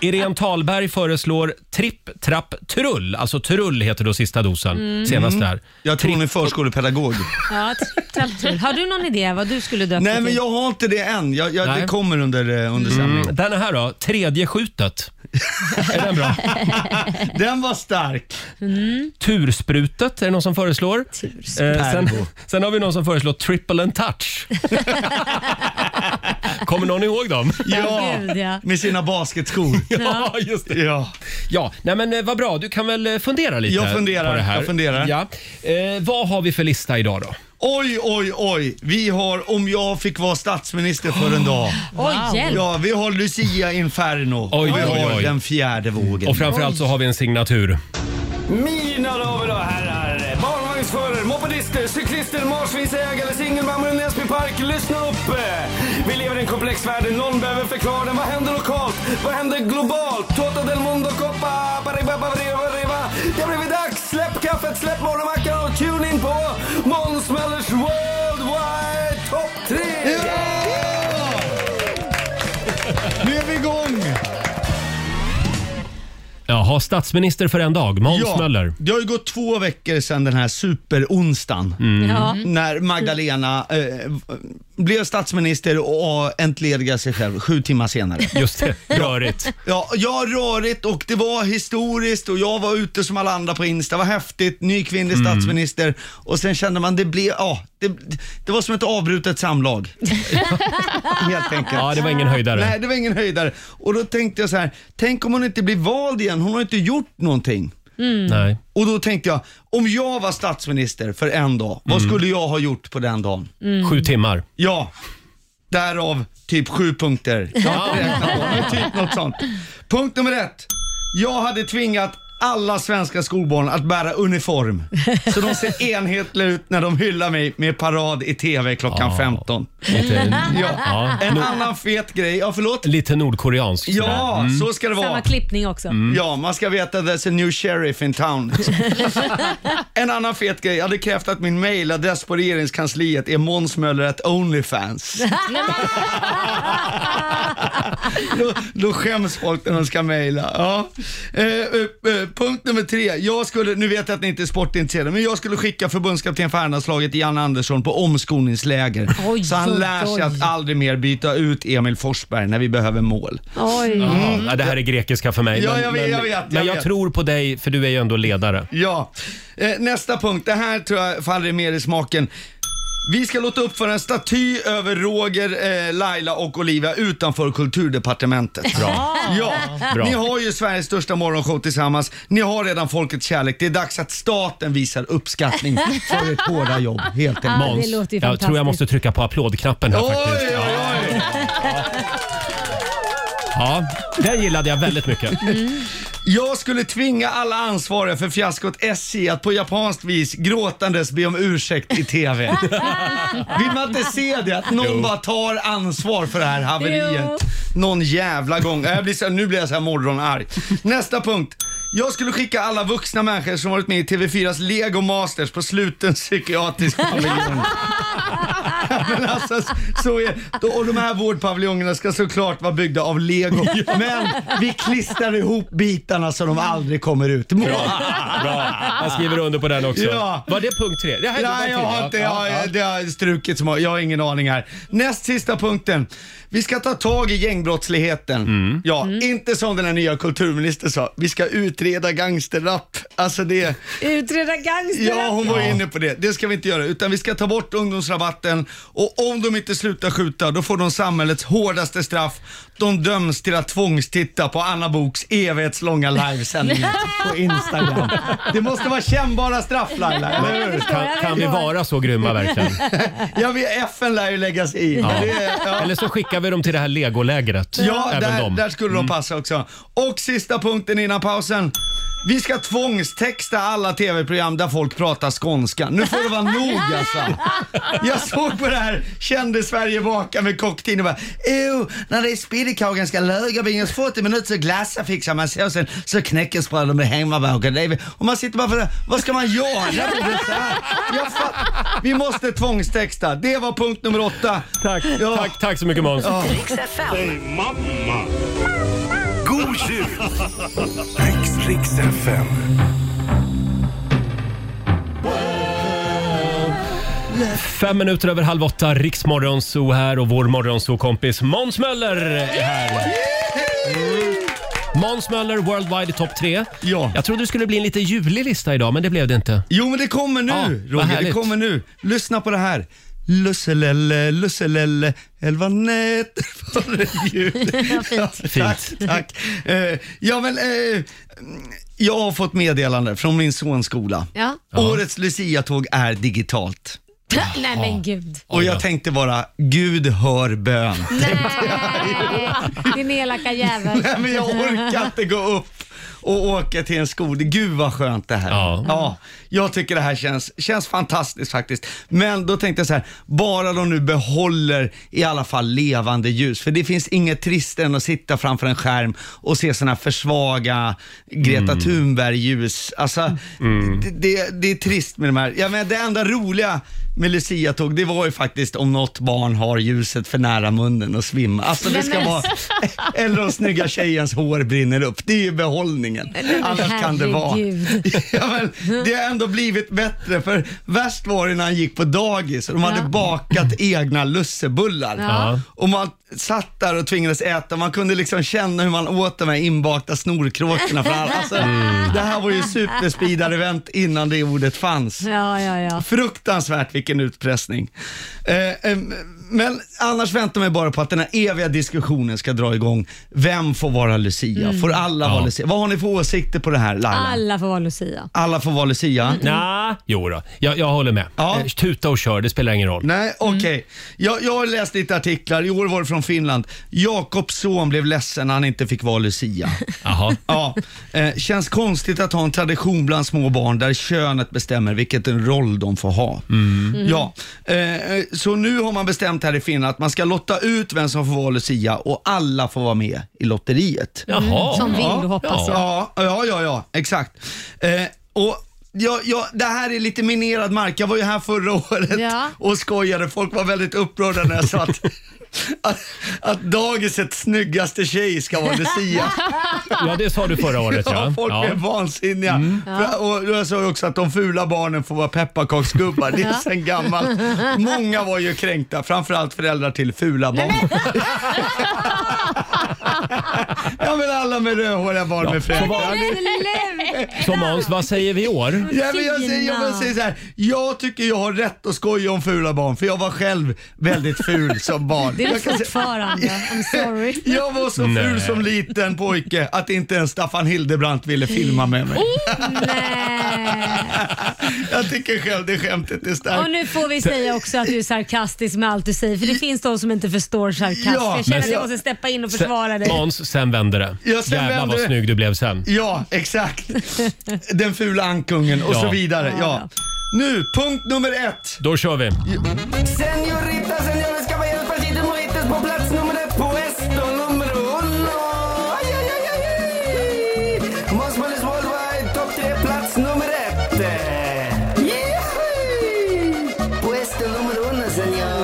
A: Irene Talberg föreslår tripp, trapp, trull. Alltså trull heter då sista dosen,
H: Mm.
A: senast där.
H: Jag tror hon är förskolepedagog.
C: Ja, t- tramsul. Har du någon idé vad du skulle döpa
H: Nej, men
C: till?
H: jag har inte det än. Jag, jag,
A: Nej.
H: det kommer under, eh, under sändning.
A: Mm, Den här då, tredje skjutet. är den bra?
H: Den var stark.
A: Tursprutet är det någon som föreslår. Eh, sen,
H: Ergo.
A: sen har vi någon som föreslår triple and touch. Kommer någon ihåg dem?
H: Ja,
C: gud, ja.
H: med sina basketskor.
A: Ja, just det.
H: Ja.
A: Ja, nej men eh, vad bra. Du kan väl eh, fundera lite
H: Jag funderar,
A: på det här.
H: jag funderar.
A: Ja. Eh, vad har vi för lista idag då?
H: Oj, oj, oj. Vi har Om jag fick vara statsminister för en dag.
C: Oj, hjälp.
H: Ja, vi har Lucia Inferno.
A: Oj,
H: och vi
A: oj,
H: har
A: oj.
H: den fjärde vågen.
A: Och framförallt så har vi en signatur.
J: Mina damer och herrar, barnvagnsförare, mopedister, cyklister, marsvinsägare, singelmammor i Näsbypark. Lyssna upp! Vi lever i en komplex värld där någon behöver förklara den. Vad händer lokalt? Vad händer globalt? Tota del mondo coppa, bariba, bariba, bariba. Det har blivit dags! Släpp kaffet, släpp morgonmackan och tune in på Måns Möllers Worldwide Top 3!
H: Nu är vi igång!
A: Jaha, Jaha, statsminister för en dag, Måns Möller.
H: Det har ju gått två veckor sedan den här superonsdagen.
A: Ja.
H: När Magdalena eh, blev statsminister och entledigade sig själv sju timmar senare.
A: Just det, rörigt.
H: Ja, ja, rörigt och det var historiskt och jag var ute som alla andra på Insta. Vad häftigt, ny kvinnlig
A: Mm.
H: statsminister. Och sen kände man, det blev, ja, det, det var som ett avbrutet samlag. Helt enkelt.
A: Ja, det var ingen höjdare.
H: Nej, det var ingen höjdare. Och då tänkte jag så här, tänk om hon inte blir vald igen, hon har inte gjort någonting.
A: Nej.
H: Och då tänkte jag, om jag var statsminister för en dag, vad skulle jag ha gjort på den dagen?
A: Mm. Sju timmar.
H: Ja, därav typ sju punkter. Jag har inte räknat på, men typ något sånt. Punkt nummer ett. Jag hade tvingat alla svenska skolbarn att bära uniform. Så de ser enhetliga ut när de hyllar mig med parad i TV klockan
A: Ja.
H: 15.
A: Lite-
H: Ja.
A: Ja.
H: En
A: Nu-
H: annan fet grej. Ja, förlåt?
A: Lite nordkoreansk.
H: Ja,
A: sådär. Mm.
H: så ska det vara.
C: Samma klippning också.
H: Ja, man ska veta att there's a new sheriff in town. en annan fet grej, jag hade krävt att min mailadress på regeringskansliet är månsmöller.onlyfans. då, då skäms folk när de ska mejla. Ja. Eh, eh, eh, punkt nummer tre. Jag skulle, nu vet jag att ni inte är sportintresserade, men jag skulle skicka förbundskapten för herrlandslaget Jan Andersson på omskolningsläger.
K: Oj,
H: så han
K: oj,
H: lär sig
K: oj.
H: att aldrig mer byta ut Emil Forsberg när vi behöver mål.
C: Oj.
A: Jaha, ja, det här är grekiska för mig.
H: Ja,
A: men-
H: jag vet,
A: men-
H: jag vet, jag
A: men jag
H: vet.
A: tror på dig, för du är ju ändå ledare.
H: Ja, eh, nästa punkt. Det här tror jag faller mer i smaken. Vi ska låta uppföra en staty över Roger, eh, Laila och Olivia utanför kulturdepartementet.
A: Bra.
H: Ja,
A: Bra.
H: ni har ju Sveriges största morgonshow tillsammans. Ni har redan folkets kärlek. Det är dags att staten visar uppskattning för ert hårda jobb, helt enkelt.
A: Måns, jag tror jag måste trycka på applådknappen här faktiskt. Ja. Ja, den gillade jag väldigt mycket.
H: Mm. Jag skulle tvinga alla ansvariga för fiaskot SJ att på japanskt vis gråtandes be om ursäkt i TV. Vill man inte se det? Att någon bara tar ansvar för det här haveriet.
K: Jo.
H: Någon jävla gång. Jag blir så, nu blir jag så här morgonarg. Nästa punkt. Jag skulle skicka alla vuxna människor som varit med i TV4s Lego Masters på sluten psykiatrisk paviljon. Ja, Men alltså, så är, och de här vårdpaviljongerna ska såklart vara byggda av lego. Men vi klistrar ihop bitarna så de aldrig kommer ut.
A: Bra. Bra. Jag skriver under på den också.
H: Ja.
A: Var det punkt tre? Det här är punkt
H: Nej,
A: tre,
H: jag har
A: va?
H: inte,
A: Ja,
H: jag,
A: ja.
H: det har strukits. Jag har ingen aning här. Näst sista punkten. Vi ska ta tag i gängbrottsligheten.
A: Mm.
H: Ja, inte som den här nya kulturministern sa. Vi ska utreda gangsterrap. Alltså det...
C: Utreda gangster.
H: Ja, hon var inne på det. Det ska vi inte göra, utan vi ska ta bort ungdomsrabatten och om de inte slutar skjuta, då får de samhällets hårdaste straff. De döms till att tvångstitta på Anna Boks evighetslånga livesändning på Instagram. Det måste vara kännbara straff Laila, eller hur?
A: Kan, kan vi vara så grymma verkligen?
H: Ja, vi, FN lär ju lägga sig i.
A: Ja.
H: Det är- ja.
A: Eller så skickar vi dem till det här legolägret.
H: Ja,
A: Även
H: där,
A: dem. Mm.
H: där skulle de passa också. Och sista punkten innan pausen. Vi ska tvångstexta alla tv-program där folk pratar skånska. Nu får det vara nog alltså. Jag såg på det här Kände Sverige bakar med kocktin och bara oh, när det är spiddekaka ska lagerbingas 40 minuter så glassar fixar man såsen så knäckesbröd med hemmabakad. Det är väl- Och man sitter bara för det. Vad ska man göra? Det är så här. Jag fatt- Vi måste tvångstexta. Det var punkt nummer åtta.
A: Tack, tack, tack så mycket Måns.
H: Ja.
B: Hej mamma! God jul! Riks, Riks FM.
A: Fem minuter över halv åtta, Riksmorgonzoo här och vår morgonzoo-kompis Måns Möller är här. Mm. Måns Möller, Worldwide Top 3.
H: Ja. Mm.
A: Jag trodde det skulle bli en lite julig lista idag, men det blev det inte.
H: Jo men det kommer nu
A: Ja, vad
H: Roger, det
A: härligt.
H: kommer nu. Lyssna på det här. Lusselelle, lusselelle, elva nätter före jul. Ja, tack, tack. Eh, ja men, eh, jag har fått meddelande från min sons skola.
C: Ja.
H: Årets luciatåg är digitalt.
C: Nej men gud.
H: Och jag tänkte bara, Gud hör bön.
C: Nej, din elaka jävel.
H: Nej, men jag orkar inte gå upp och åka till en skola. Gud vad skönt det här.
A: Ja.
H: jag tycker det här känns, känns fantastiskt faktiskt. Men då tänkte jag så här, bara de nu behåller i alla fall levande ljus. För det finns inget tristare än att sitta framför en skärm och se sådana här försvaga Greta Thunberg-ljus. Alltså, det, det, det är trist med de här. Jag menar, det enda roliga med Lucia-tåg, det var ju faktiskt om något barn har ljuset för nära munnen och svimmar. Alltså det
C: Nej,
H: ska
C: men-
H: vara eller om snygga tjejens hår brinner upp. Det är ju behållningen. meningen.
B: Nej, men
H: Annars kan det vara.
B: herregud.
H: Ja, men, det har ändå blivit bättre för värst var det när han gick på dagis och de hade
B: Ja. Mm.
H: bakat egna lussebullar.
B: Ja.
H: Och man satt där och tvingades äta, man kunde liksom känna hur man åt de här inbakta snorkråkorna. För alla. Alltså,
B: Mm.
H: Det här var ju superspeedar-event innan det ordet fanns.
C: Ja, ja, ja.
H: Fruktansvärt vilken utpressning. Eh, eh, men annars väntar man ju bara på att den här eviga diskussionen ska dra igång. Vem får vara Lucia?
C: Mm.
H: Får alla
A: Ja.
H: vara Lucia? Vad har ni för åsikter på det här Laila?
B: Ah,
C: Alla får vara Lucia.
H: Alla får vara Lucia?
A: Mm. Nja, jo då. Jag, jag håller med. Eh, Tuta och kör, det spelar ingen roll.
H: Nej, okej. Jag, jag har läst lite artiklar, i år var det från Finland. Jakobs son blev ledsen när han inte fick vara Lucia.
A: Jaha.
H: Ja. Eh, känns konstigt att ha en tradition bland små barn där könet bestämmer vilket en roll de får ha.
B: Mm.
H: Ja. Eh, så nu har man bestämt här i Finland att man ska lotta ut vem som får vara Lucia och alla får vara med i lotteriet.
C: Mm,
B: Jaha. Som vill,
H: ja.
B: hoppas jag.
H: Ja, ja, ja, ja exakt. Eh, och Ja, ja, det här är lite minerad mark. Jag var ju här förra året och skojade. Folk var väldigt upprörda när jag sa att, att, att dagisets snyggaste tjej ska vara Lucia.
A: Ja, det sa du förra året, ja.
H: folk
A: Ja. Mm.
H: är vansinniga. För, och jag sa ju också att de fula barnen får vara pepparkaksgubbar. Det är
B: Ja.
H: sen gammalt. Många var ju kränkta, framförallt föräldrar till fula barn. ja men alla med rödhåriga barn med föräldrar.
A: Så Måns, vad säger vi i år?
H: Ja, men jag, säger, jag, säger så här, jag tycker jag har rätt att skoja om fula barn för jag var själv väldigt ful som barn.
B: Det är du
H: Jag kan säga-
B: fortfarande. I'm sorry.
H: Jag var så ful
B: Nej.
H: som liten pojke att inte ens Staffan Hildebrandt ville filma med mig. Jag tycker själv det skämtet är starkt.
C: Och nu får vi säga också att du är sarkastisk med allt du säger, för det finns de som inte förstår sarkasm.
H: Ja,
C: jag känner
A: men-
C: att jag måste steppa in och försvara
A: Sen-
C: dig.
A: Måns, sen vände det.
H: Ja, sen
A: Jävlar
H: vände
A: vad
H: det.
A: snygg du blev sen.
H: Ja, exakt. Den fula ankungen och
A: Ja.
H: så vidare.
A: Ja.
H: Ja. Nu, punkt nummer ett.
A: Då kör vi.
J: Señorita, señores, caballeros, partidos, mojitos, på plats nummer ett, puesto numero uno. Ay, ay, ay, ay, ay. Mos Males Worldwide, topp tre, plats nummer ett. Yippee! Puesto numero uno, señor.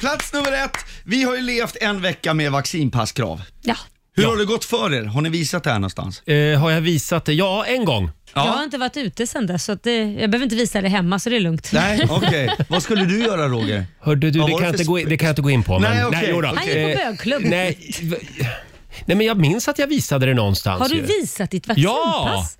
H: Plats nummer ett. Vi har ju levt en vecka med vaccinpasskrav.
C: Ja.
H: Hur har det gått för er? Har ni visat det här någonstans?
A: Eh, har jag visat det? Ja, en gång.
C: Jag har inte varit ute sen dess, så att det, jag behöver inte visa det hemma så det är lugnt.
H: Nej, okej. Vad skulle du göra Roger?
A: Hörde du,
H: Vad
A: det
H: var
A: kan, jag
H: det
A: inte
H: för
A: gå in, det kan jag inte gå in på.
H: Nej, okej,
A: jo då.
C: Han gick på
A: Eh,
C: bögklubb.
A: Nej, v- nej, men jag minns att jag visade det någonstans.
C: Har du
A: ju.
C: visat ditt
A: Ja!
C: vaccinpass?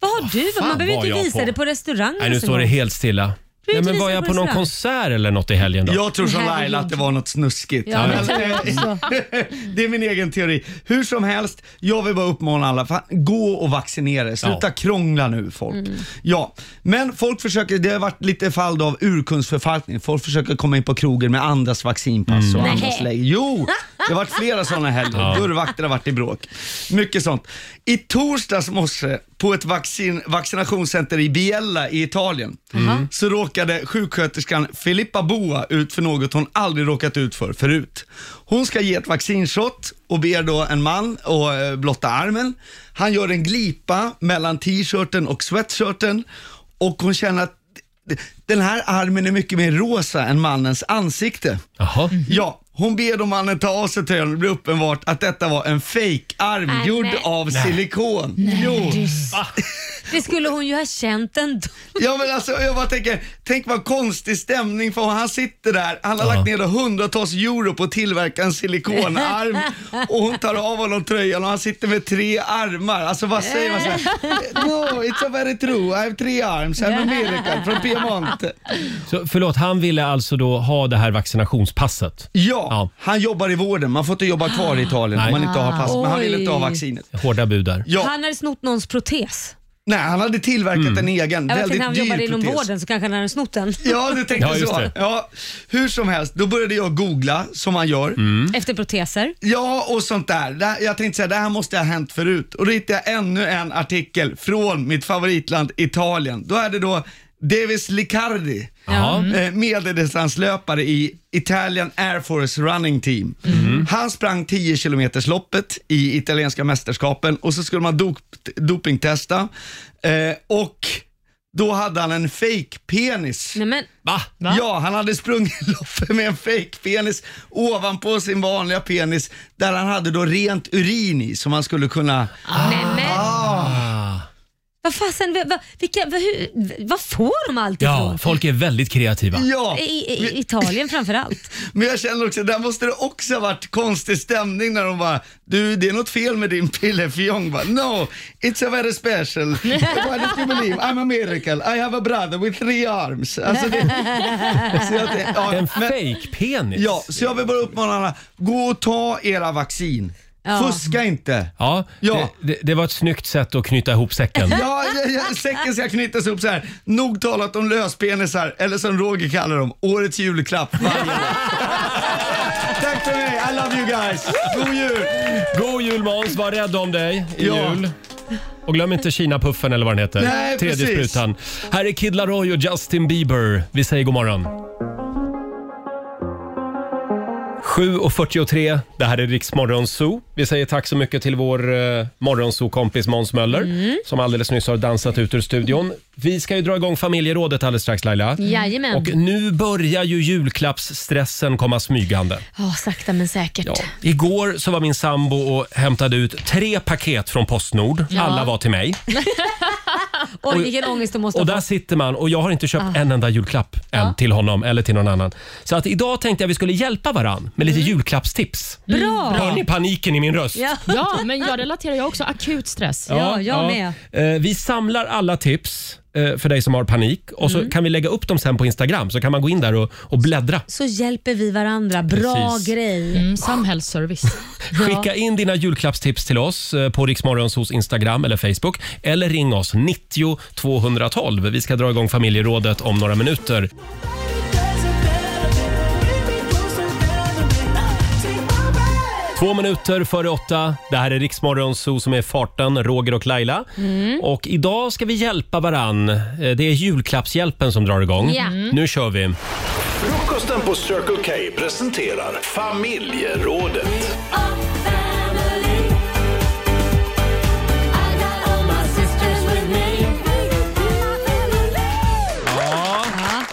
C: Vad har du?
A: fan
C: Man behöver
A: var
C: inte
A: jag
C: visa
A: på?
C: det på restaurangen.
A: Nej, nu
C: ens en
A: står det
C: gång.
A: helt stilla.
C: Du har
A: Nej,
C: inte
A: men
C: visat
A: var
C: det
A: jag
C: på
A: på någon
C: restaurang.
A: konsert eller något i helgen då?
H: Jag tror som Laila att det var något snuskigt.
A: Ja,
H: Men,
A: jag tror
H: eh, det är min egen teori. Hur som helst, jag vill bara uppmana alla, fan, gå och vaccinera er. Sluta
B: Ja.
H: krångla nu folk.
B: Mm.
H: Ja, men folk försöker, det har varit lite fall då av urkundsförfalskning. Folk försöker komma in på krogen med andras vaccinpass
B: Mm.
H: och
B: Nej.
H: andras läge. Jo, det har varit flera sådana helger.
B: Ja.
H: Dörrvakter har varit i bråk. Mycket sånt. I torsdags morse på ett vaccin, vaccinationscenter i Biella i Italien
B: Mhm.
H: så råkade sjuksköterskan Filippa Boa ut för något hon aldrig råkat ut för förut. Hon ska ge ett vaccinshot och ber då en man att eh, blotta armen. Han gör en glipa mellan t-shirten och sweatshirten och hon känner att d- den här armen är mycket mer rosa än mannens ansikte. Ja, hon ber då mannen ta av sig tröjan och det blir uppenbart att detta var en fake-arm
C: Nej,
H: gjord
C: men-
H: av
C: Nej.
H: silikon.
C: du Det skulle hon ju ha känt ändå.
H: Ja men alltså jag bara tänker, tänk vad konstig stämning för han sitter där, han har lagt ner hundratals euro på att tillverka en silikonarm och hon tar av honom tröjan och han sitter med tre armar. Alltså vad säger man såhär? No, it's a very true, I have three arms, I'm American from Piemonte.
A: Så, förlåt, han ville alltså då ha det här vaccinationspasset?
H: Ja, han jobbar i vården, man får inte jobba kvar i Italien om man inte har pass, men han ville inte ha vaccinet.
A: Hårda bud där.
H: Ja.
C: Han hade snott någons protes.
H: Nej, han hade tillverkat
B: Mm.
H: en egen,
C: Jag vet
H: väldigt
C: inte, han
H: dyr
C: jobbade inom
H: protes.
C: vården så kanske han hade snott den.
H: Ja, du tänkte
B: Ja, just
H: så.
B: det.
H: Ja, hur som helst, då började jag googla, som man gör.
B: Mm.
A: Mm.
C: Efter proteser.
H: Ja, och sånt där. där. Jag tänkte säga, det här måste ha hänt förut. Och då hittade jag ännu en artikel från mitt favoritland Italien. Då är det då Davis Licardi,
B: Jaha.
H: eh, medeldistanslöpare i Italian Air Force Running Team. Han sprang 10 km loppet i italienska mästerskapen och så skulle man dop- dopingtesta. Eh, och Då hade han en fake penis
C: Nej, men,
A: Va?
H: Ja, han hade sprungit loppor med en fake penis ovanpå sin vanliga penis där han hade då rent urin i som han skulle kunna...
C: nej, men.
A: Ah,
C: Vad fasen, vad, vad, vilka, vad, hur, vad får de allt
A: Ja,
C: ifrån?
A: folk är väldigt kreativa.
H: Ja,
C: I, i, i Italien framförallt.
H: men jag känner också, där måste det också ha varit konstig stämning när de bara Du, det är något fel med din pille Fjong bara No, it's a very special. Why don't you believe? I'm a miracle. I have a brother with three arms. Alltså det, så jag, tänk- ja,
A: En
H: men-
A: fake-penis?
H: Ja, så jag vill bara uppmana alla, gå och ta era vaccin. Fuska inte.
A: Ja,
H: Ja.
A: Det, det, det var ett snyggt sätt att knyta ihop säcken.
H: Ja, ja, ja, säcken ska knytas upp så här. Nog talat om löspenisar, eller som Roger kallar dem, årets julklapp varje år. Tack för mig, I love you guys. God jul!
A: God jul Måns, var rädd om dig i
H: Ja.
A: jul. Och glöm inte Kinapuffen eller vad den heter.
H: Nej,
A: Tredje
H: precis.
A: sprutan. Här är Kid Laroi och Justin Bieber. Vi säger god morgon. 7.43, det här är Riks Morgonzoo. Vi säger tack så mycket till vår eh, Morgonzoo-kompis Måns Möller
H: Mm.
A: som alldeles nyss har dansat ut ur studion. Vi ska ju dra igång familjerådet alldeles strax Laila.
C: Jajamän.
A: Och nu börjar ju julklappsstressen komma smygande.
C: Ja, sakta men säkert.
A: Ja. Igår så var min sambo och hämtade ut tre paket från Postnord. Alla var till mig.
C: Oj, vilken ångest du måste
A: Och
C: ha
A: där
C: fått.
A: sitter man och jag har inte köpt en enda julklapp än till honom eller till någon annan. Så att idag tänkte jag vi skulle hjälpa varann med lite julklappstips.
C: Bra!
A: Hör ni paniken i min röst?
C: Mm. Ja.
D: Ja, men jag relaterar ju också. Akut stress.
C: Ja, jag
A: Eh, Vi samlar alla tips eh, för dig som har panik och
C: Mm.
A: så kan vi lägga upp dem sen på Instagram så kan man gå in där och, och bläddra.
C: Så hjälper vi varandra. Bra
A: Precis.
C: grej.
D: Mm, samhällsservice.
A: Skicka in dina julklappstips till oss eh, på Riksmorgonsos Instagram eller Facebook eller ring oss 90 212. Vi ska dra igång familjerådet om några minuter. Två minuter före åtta. Det här är Riksmorgonso som är i farten, Roger och Laila. Och idag ska vi hjälpa varann. Eh, Det är julklappshjälpen som drar igång.
C: Ja. Mm.
A: Nu kör vi.
K: Frukosten på Circle K presenterar familjerådet.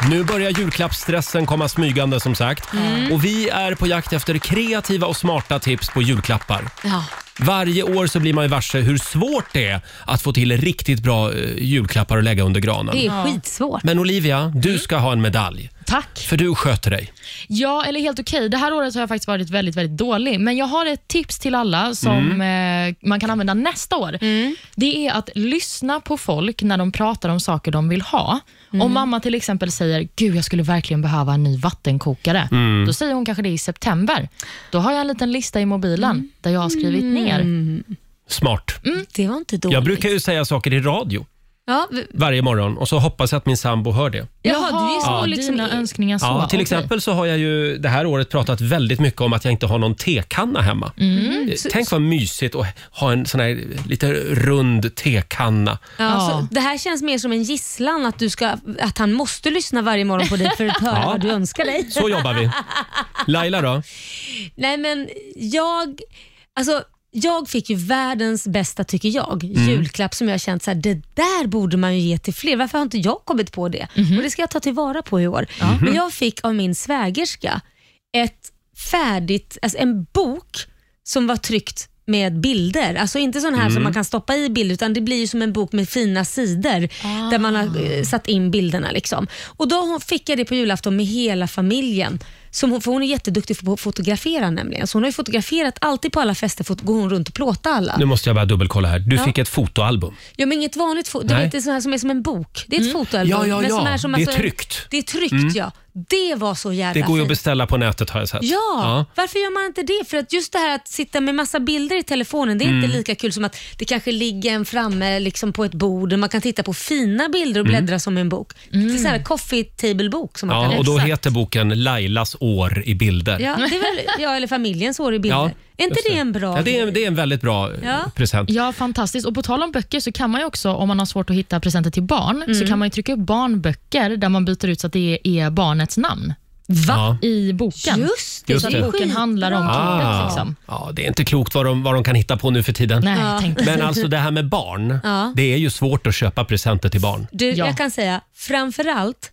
A: Nu börjar julklappsstressen komma smygande som sagt.
C: Mm.
A: Och vi är på jakt efter kreativa och smarta tips på julklappar.
C: Ja.
A: Varje år så blir man ju varse hur svårt det är att få till riktigt bra eh, julklappar att lägga under granen.
C: Det är Mm. skitsvårt.
A: Men Olivia, du ska ha en medalj.
D: Tack.
A: För du sköter dig.
D: Ja, eller helt okej. Det här året har jag faktiskt varit väldigt, väldigt dålig. Men jag har ett tips till alla som
A: Mm.
D: eh, man kan använda nästa år.
C: Mm.
D: Det är att lyssna på folk när de pratar om saker de vill ha.
C: Mm.
D: Om mamma till exempel säger, gud jag skulle verkligen behöva en ny vattenkokare.
A: Mm.
D: Då säger hon kanske det i september. Då har jag en liten lista i mobilen
C: Mm.
D: där jag har skrivit ner.
A: Smart.
C: Det var inte dåligt.
A: Jag brukar ju säga saker i radio
C: ja, v-
A: varje morgon och så hoppas jag att min sambo hör det.
C: jaha, du är så
D: ja,
C: liksom...
D: dina önskningar så.
A: Ja, till
D: Okej.
A: exempel så har jag ju det här året pratat väldigt mycket om att jag inte har någon tekanna hemma.
C: Mm.
A: Eh, Tänk vad mysigt att ha en sån här lite rund tekanna.
C: Ja,
D: Ja.
C: Så det här känns mer som en gisslan, att, du ska, att han måste lyssna varje morgon på dig för att höra
A: Ja.
C: vad du önskar dig.
A: Så jobbar vi. Laila då?
C: Nej men jag, alltså, jag fick ju världens bästa, tycker jag,
A: Mm.
C: julklapp som jag känt så här, det där borde man ju ge till fler. Varför har inte jag kommit på det? Och Det ska jag ta tillvara på i år.
A: Mm-hmm.
C: Men jag fick av min svägerska ett färdigt, alltså en bok som var tryckt med bilder. Alltså inte sån här
A: Mm.
C: som man kan stoppa i bilder utan det blir ju som en bok med fina sidor där man
A: Ah.
C: har eh, satt in bilderna. Liksom. Och Då fick jag det på julafton med hela familjen. Som hon, för hon är jätteduktig på att fotografera nämligen. Så hon har ju fotograferat, alltid på alla fester fot- går hon runt och plåtar alla.
A: Nu måste jag bara dubbelkolla här. Du fick ett fotoalbum.
C: Ja, men inget vanligt foto. Du
A: Nej. Mm.
C: vet, det är sån här som är som en bok. Det är ett fotoalbum.
A: Ja, ja,
C: Men som
A: ja.
C: är som,
A: Det är
C: alltså, en-
A: tryckt. Mm.
C: Det är tryckt, ja. Det var så jävla
A: Det går ju att
C: fint.
A: beställa på nätet har jag sett.
C: Ja, varför gör man inte det? För att just det här att sitta med massa bilder i telefonen, det är inte
A: Mm.
C: lika kul som att det kanske ligger en framme liksom på ett bord och man kan titta på fina bilder och bläddra som en bok. Det är sån här coffee table-bok som man
A: Mm. Ja,
C: kan
A: och då
C: Exakt.
A: heter boken Lailas år i bilder.
C: Ja, det är väl, ja, eller familjens år i bilder.
A: Ja,
C: är inte
A: just
C: det en bra
A: Ja, det, är,
C: grej?
A: det är en väldigt bra eh,
C: Ja.
A: present.
D: Ja, fantastiskt. Och på tal om böcker så kan man ju också, om man har svårt att
C: Mm.
D: hitta presenter till barn, så kan man ju trycka upp barnböcker där man byter ut så att det är barnets namn.
A: Ja.
D: i boken.
C: Just
A: det,
D: Så att
A: det.
D: boken handlar om kriget. Liksom.
A: Ah. Ja, det är inte klokt vad de, vad de kan hitta på nu för tiden.
D: Nej, Ja. tänkte-
A: Men alltså det här med barn,
C: Ja.
A: det är ju svårt att köpa presenter till barn.
C: Du, jag kan säga framförallt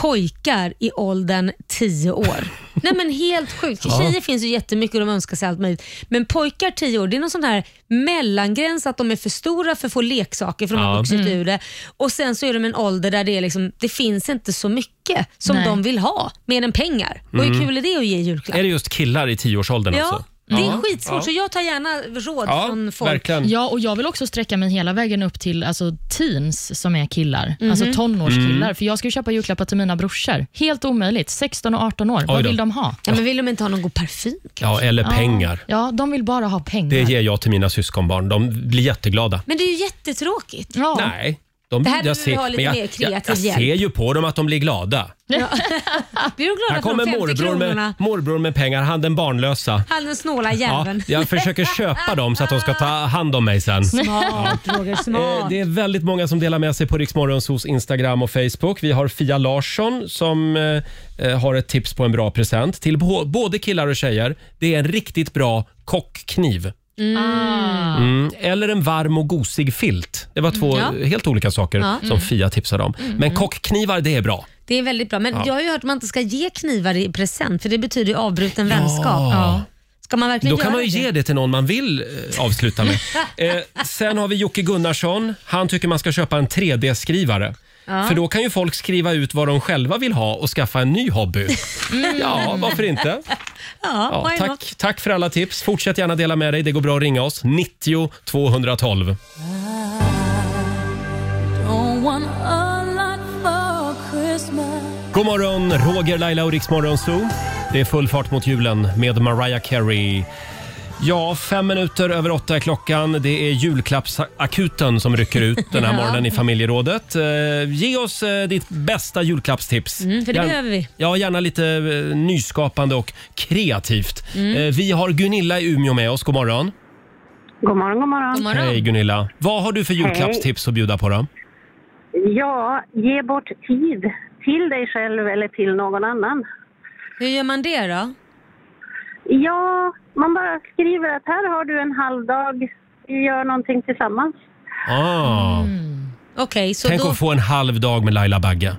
C: pojkar i åldern 10 år. Nej men helt sjukt.
A: Ja.
C: Tjejer finns ju jättemycket och de önskar sig allt möjligt. Men pojkar 10 år, det är någon sån här mellangräns att de är för stora för att få leksaker för de
A: Ja.
C: har vuxit
A: Mm.
C: ur det. Och sen så är de i en ålder där det, är liksom, det finns inte så mycket som
A: Nej.
C: de vill ha, mer än pengar. Och hur
A: Mm.
C: kul är det att ge julklapp?
A: Är det just killar i tioårsåldern
C: ja,
A: alltså?
C: det är
A: Ja.
C: skitsvårt så jag tar gärna råd
A: Ja,
C: från folk.
A: verkligen.
D: Ja, och jag vill också sträcka mig hela vägen upp till alltså, teens som är killar.
C: Mhm.
D: Alltså tonårskillar.
A: Mm.
D: För jag ska ju köpa julklappar till mina brorsor. Helt omöjligt. 16 och 18 år.
A: Oj
D: Vad
A: då.
D: vill de ha?
A: Ja, men
C: vill de inte ha någon god parfym?
A: Ja, eller pengar.
D: Ja, de vill bara ha pengar.
A: Det ger jag till mina syskonbarn. De blir jätteglada.
C: Men det är ju jättetråkigt.
A: Nej. De,
C: Det här
A: jag
C: behöver vi ha lite
A: men jag,
C: mer
A: jag, jag
C: kreativ hjälp.
A: ser ju på dem att de blir glada.
C: Ja. Blir du glad
A: Ah. Här
C: för de
A: kommer
C: 50
A: morbror
C: kronorna?
A: med, morbror med pengar, han den barnlösa.
C: Han den snåla
A: Ja,
C: jäveln.
A: jag försöker köpa dem så att de ska ta hand om mig sen.
C: Smart
A: Ja.
C: Roger,
A: Eh,
C: smart.
A: Det är väldigt många som delar med sig på Riksmorgons hos Instagram och Facebook. Vi har Fia Larsson som eh, eh, har ett tips på en bra present till bo- både killar och tjejer. Det är en riktigt bra kockkniv. Mm. Eller en varm och gosig filt. Det var två
C: Mm. Ja.
A: eh, helt olika saker
C: Ja.
A: som
C: Mm.
A: Fia tipsade om.
C: Mm.
A: Men kockknivar, det är bra.
C: Det är väldigt bra. Men
A: Ja.
C: jag har ju hört att man inte ska ge knivar i present för det betyder ju avbruten vänskap. Ja. Ska man verkligen
A: Då kan
C: göra
A: man ju
C: det?
A: ge det till någon man vill eh, avsluta med. eh, sen har vi Jocke Gunnarsson. Han tycker man ska köpa en 3D-skrivare.
C: Ja.
A: För då kan ju folk skriva ut vad de själva vill ha och skaffa en ny hobby.
C: Mm.
A: Ja, varför inte?
C: Ja,
A: Ja,
C: why not?
A: tack, tack för alla tips. Fortsätt gärna dela med dig. Det går bra att ringa oss. 90 212.
F: Don't want a lot for Christmas.
A: God morgon, Roger, Laila och Riksmorgon Zoo. Det är full fart mot julen med Mariah Carey. Ja, fem minuter över åtta är klockan. Det är julklappsakuten som rycker ut den här
C: Ja.
A: morgonen i familjerådet. Eh, ge oss eh, ditt bästa julklappstips.
C: Mm, för det
A: Gärna-
C: behöver vi.
A: Ja, gärna lite eh, nyskapande och kreativt.
C: Mm.
A: Eh, vi har Gunilla i Umeå med oss. God morgon.
L: God morgon, god morgon.
A: Hej Gunilla. Vad har du för
L: Hej.
A: julklappstips att bjuda på då?
L: Ja, ge bort tid till dig själv eller till någon annan.
C: Hur gör man det då?
L: Ja, man bara skriver att här har du en halv dag, vi gör någonting tillsammans.
A: Ah.
C: Okej, så
A: Tänk
C: Mm. då...
A: att få en halv dag med Laila Bagge.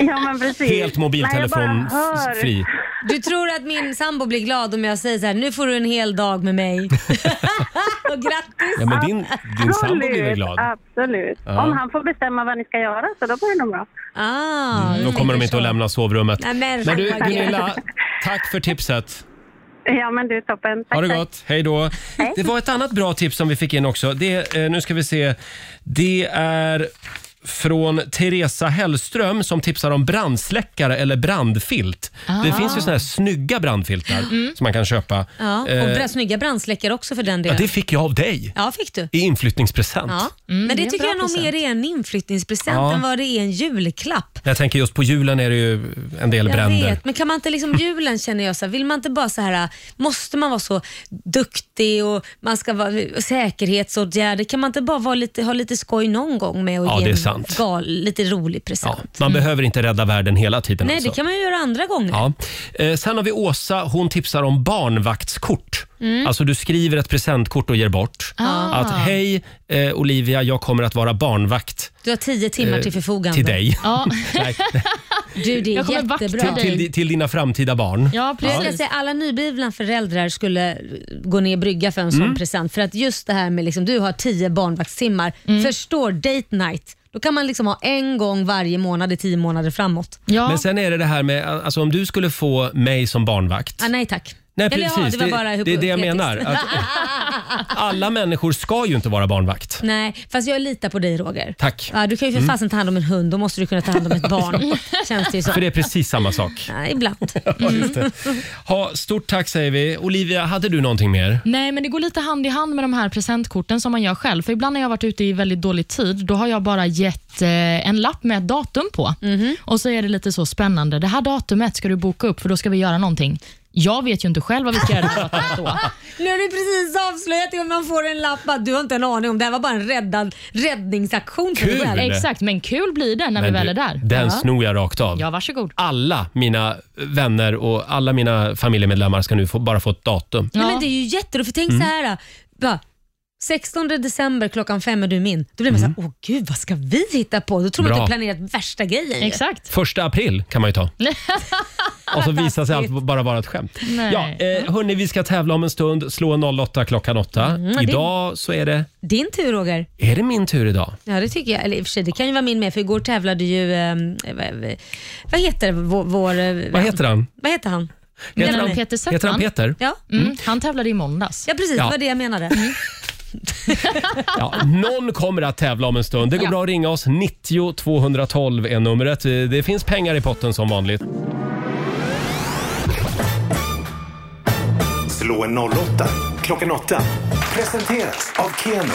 L: Ja, men precis.
A: Helt mobiltelefon
C: Nej, jag bara hör.
A: f- fri.
C: Du tror att min sambo blir glad om jag säger så här, nu får du en hel dag med mig. och grattis!
A: Ja, men din, din sambo blir väl glad?
L: Absolut.
A: Ja.
L: Om han får bestämma vad ni ska göra så då blir det nog bra.
C: Ah,
A: Då kommer de inte att lämna sovrummet.
L: Nej, men-
A: Mm. Men du Gunilla, tack för tipset.
L: Ja, men du toppen. Tack,
A: Ha det
L: tack.
A: gott. Hej då. Det var ett annat bra tips som vi fick in också. Det, eh, nu ska vi se. Det är från Teresa Hellström som tipsar om brandsläckare eller brandfilt.
C: Ah.
A: Det finns ju såna här snygga brandfiltar
C: Mm.
A: som man kan köpa.
C: Ja, och
A: Eh,
C: bra, snygga brandsläckare också för den
A: ja,
C: delen.
A: det fick jag av dig
C: Ja, fick du.
A: i inflyttningspresent.
C: Ja.
D: Mm, det
C: men
D: är
C: det,
D: en
C: tycker
D: bra
C: jag nog
D: present.
C: mer är en inflyttningspresent
A: Ja.
C: än vad det är en julklapp.
A: Jag tänker just på julen är det ju en del
C: Jag
A: bränder.
C: vet, men kan man inte liksom julen känner jag så här, vill man inte bara så här, måste man vara så duktig och man ska vara säkerhetsåtgärder, kan man inte bara vara lite, ha lite skoj någon gång med och
A: Ja,
C: ge
A: det är
C: en
A: sant.
C: Gal, lite rolig present?
A: Man behöver inte rädda världen hela tiden.
C: Mm. Nej,
A: alltså.
C: det kan man ju göra andra gånger.
A: Ja. Eh, sen har vi Åsa. Hon tipsar om barnvaktskort.
C: Mm.
A: Alltså du skriver ett presentkort och ger bort.
C: Ah.
A: Att hej eh, Olivia, jag kommer att vara barnvakt.
C: Du har tio timmar
A: Eh,
C: till förfogande.
A: till dig. Ja. Nej.
C: Du, det är
D: Jag kommer vakta
C: jättebra.
A: Till, till, till dina framtida barn.
C: Ja, precis. Jag ska säga, alla nyblivna föräldrar skulle gå ner i brygga för en sån
A: Mm.
C: present. För att just det här med liksom, du har tio barnvaktstimmar.
A: Mm.
C: Förstår date night. Då kan man liksom ha en gång varje månad i tio månader framåt.
A: Men sen är det det här med, alltså om du skulle få mig som barnvakt.
C: Ah, nej tack.
A: Nej,
C: Eller
A: precis.
C: ja, det var
A: Det-
C: bara
A: det är det jag
C: hypotetiskt.
A: menar. Alla människor ska ju inte vara barnvakt.
C: nej, fast jag litar på dig Roger.
A: Tack.
C: Ja, du kan ju för
A: Mm.
C: fasen ta hand om en hund, då måste du kunna ta hand om ett barn. Känns det ju så.
A: För det är precis samma sak.
C: Ja, ibland.
A: Ja, just det. Ha, stort tack säger vi. Olivia, hade du någonting mer?
D: Nej, men det går lite hand i hand med de här presentkorten som man gör själv. För ibland när jag har varit ute i väldigt dålig tid, då har jag bara gett eh, en lapp med ett datum på. Och så är det lite så spännande. Det här datumet ska du boka upp, för då ska vi göra någonting. Jag vet ju inte själv vad vi ska göra när vi pratar om ett år.
C: Nu har du precis avslöjat det och man får en lapp att du har inte en aning om det här var bara en räddad, räddningsaktion för dig
A: Kul!
C: själv.
A: Exakt,
D: men kul blir det när
A: Men du, Den snor jag rakt av.
D: Ja, varsågod.
A: Alla mina vänner och alla mina familjemedlemmar ska nu få, bara få ett datum.
C: Nej, men det är ju jätteroligt, för tänk
A: Mm.
C: så här. Bara, 16 december klockan fem är du min. Då blir man så här, åh gud vad ska vi hitta på? Då tror man
A: Mm. Bra.
C: att du har planerat värsta grejen.
D: Exakt.
A: Första april kan man ju ta. Och så visar sig allt bara vara ett skämt.
C: Nej.
A: Ja, eh, hörni, vi ska tävla om en stund. Slå en 08 klockan 8.
C: Mm, det-
A: idag så är det...
C: Din tur Roger.
A: Är det min tur idag?
C: Ja det tycker jag. Eller i och för sig, det kan ju vara min med för igår tävlade ju, eh, vad, vad heter vår, vår eh,
A: Vad heter han?
C: Vad heter han?
A: Heter
C: Menar
A: han-
C: ni?
A: Peter Settman? heter han Peter?
C: Ja.
D: Mm. Han tävlade i måndags.
C: Ja precis,
A: Ja.
C: det var det jag menade.
A: Ja, någon kommer att tävla om en stund. Det går
C: Ja.
A: bra att ringa oss. 90 212 är numret. Eh, Det finns pengar i potten som vanligt.
K: Slå en 08 klockan 8. Presenteras av Keno.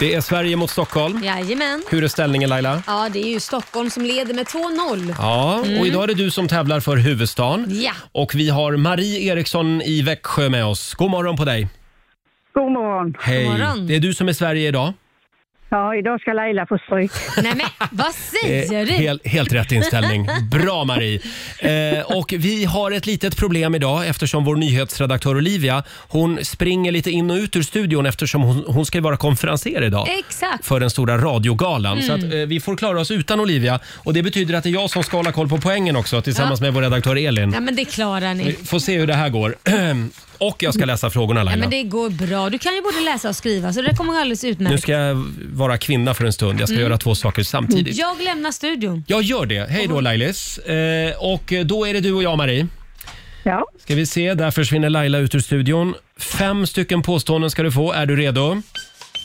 A: Det är Sverige mot Stockholm.
C: Jajamän.
A: Hur är ställningen Laila?
C: Ja det är ju Stockholm som leder med 2-0.
A: Ja,
C: Mm.
A: och idag är det du som tävlar för huvudstaden.
C: Ja.
A: Och vi har Marie Eriksson i Växjö med oss. God morgon på dig.
M: God morgon.
A: Hej. Det är du som är Sverige idag.
M: Ja, idag ska Laila få stryk.
C: Nej men vad säger
A: Eh,
C: du?
A: hel, helt rätt inställning. Bra Marie! Eh, och vi har ett litet problem idag eftersom vår nyhetsredaktör Olivia hon springer lite in och ut ur studion eftersom hon, hon ska ju vara konferenser idag.
C: Exakt.
A: för den stora radiogalan.
C: Mm.
A: Så att, eh, vi får klara oss utan Olivia. Och Det betyder att det är jag som ska hålla koll på poängen också tillsammans
C: Ja.
A: med vår redaktör Elin.
C: Ja men det klarar ni.
A: Vi får se hur det här går. och jag ska läsa frågorna
C: Ja,
A: Laila.
C: men det går bra. Du kan ju både läsa och skriva så det kommer gå alldeles
A: Nu
C: utmärkt.
A: ska jag vara kvinna för en stund. Jag ska
C: Mm.
A: göra två saker samtidigt.
C: Jag lämnar studion.
A: Jag gör det. Hej då Lailis. Eh, och då är det du och jag Marie.
M: Ja.
A: Ska vi se, där försvinner Laila ut ur studion. Fem stycken påståenden ska du få. Är du redo?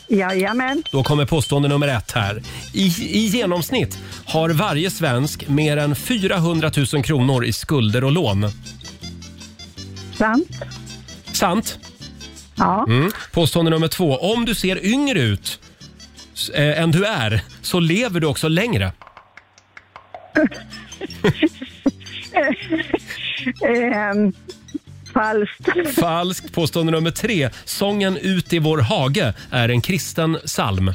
M: Jajamän.
A: Då kommer påstående nummer ett här. I, I genomsnitt har varje svensk mer än 400 000 kronor i skulder och lån.
M: Sant.
A: Sant?
M: Ja.
A: Mm. Påstående nummer två. Om du ser yngre ut s- eh, än du är så lever du också längre.
M: Ehm, falskt.
A: Falskt. Påstående nummer tre. Sången Ut i vår hage är en kristen psalm.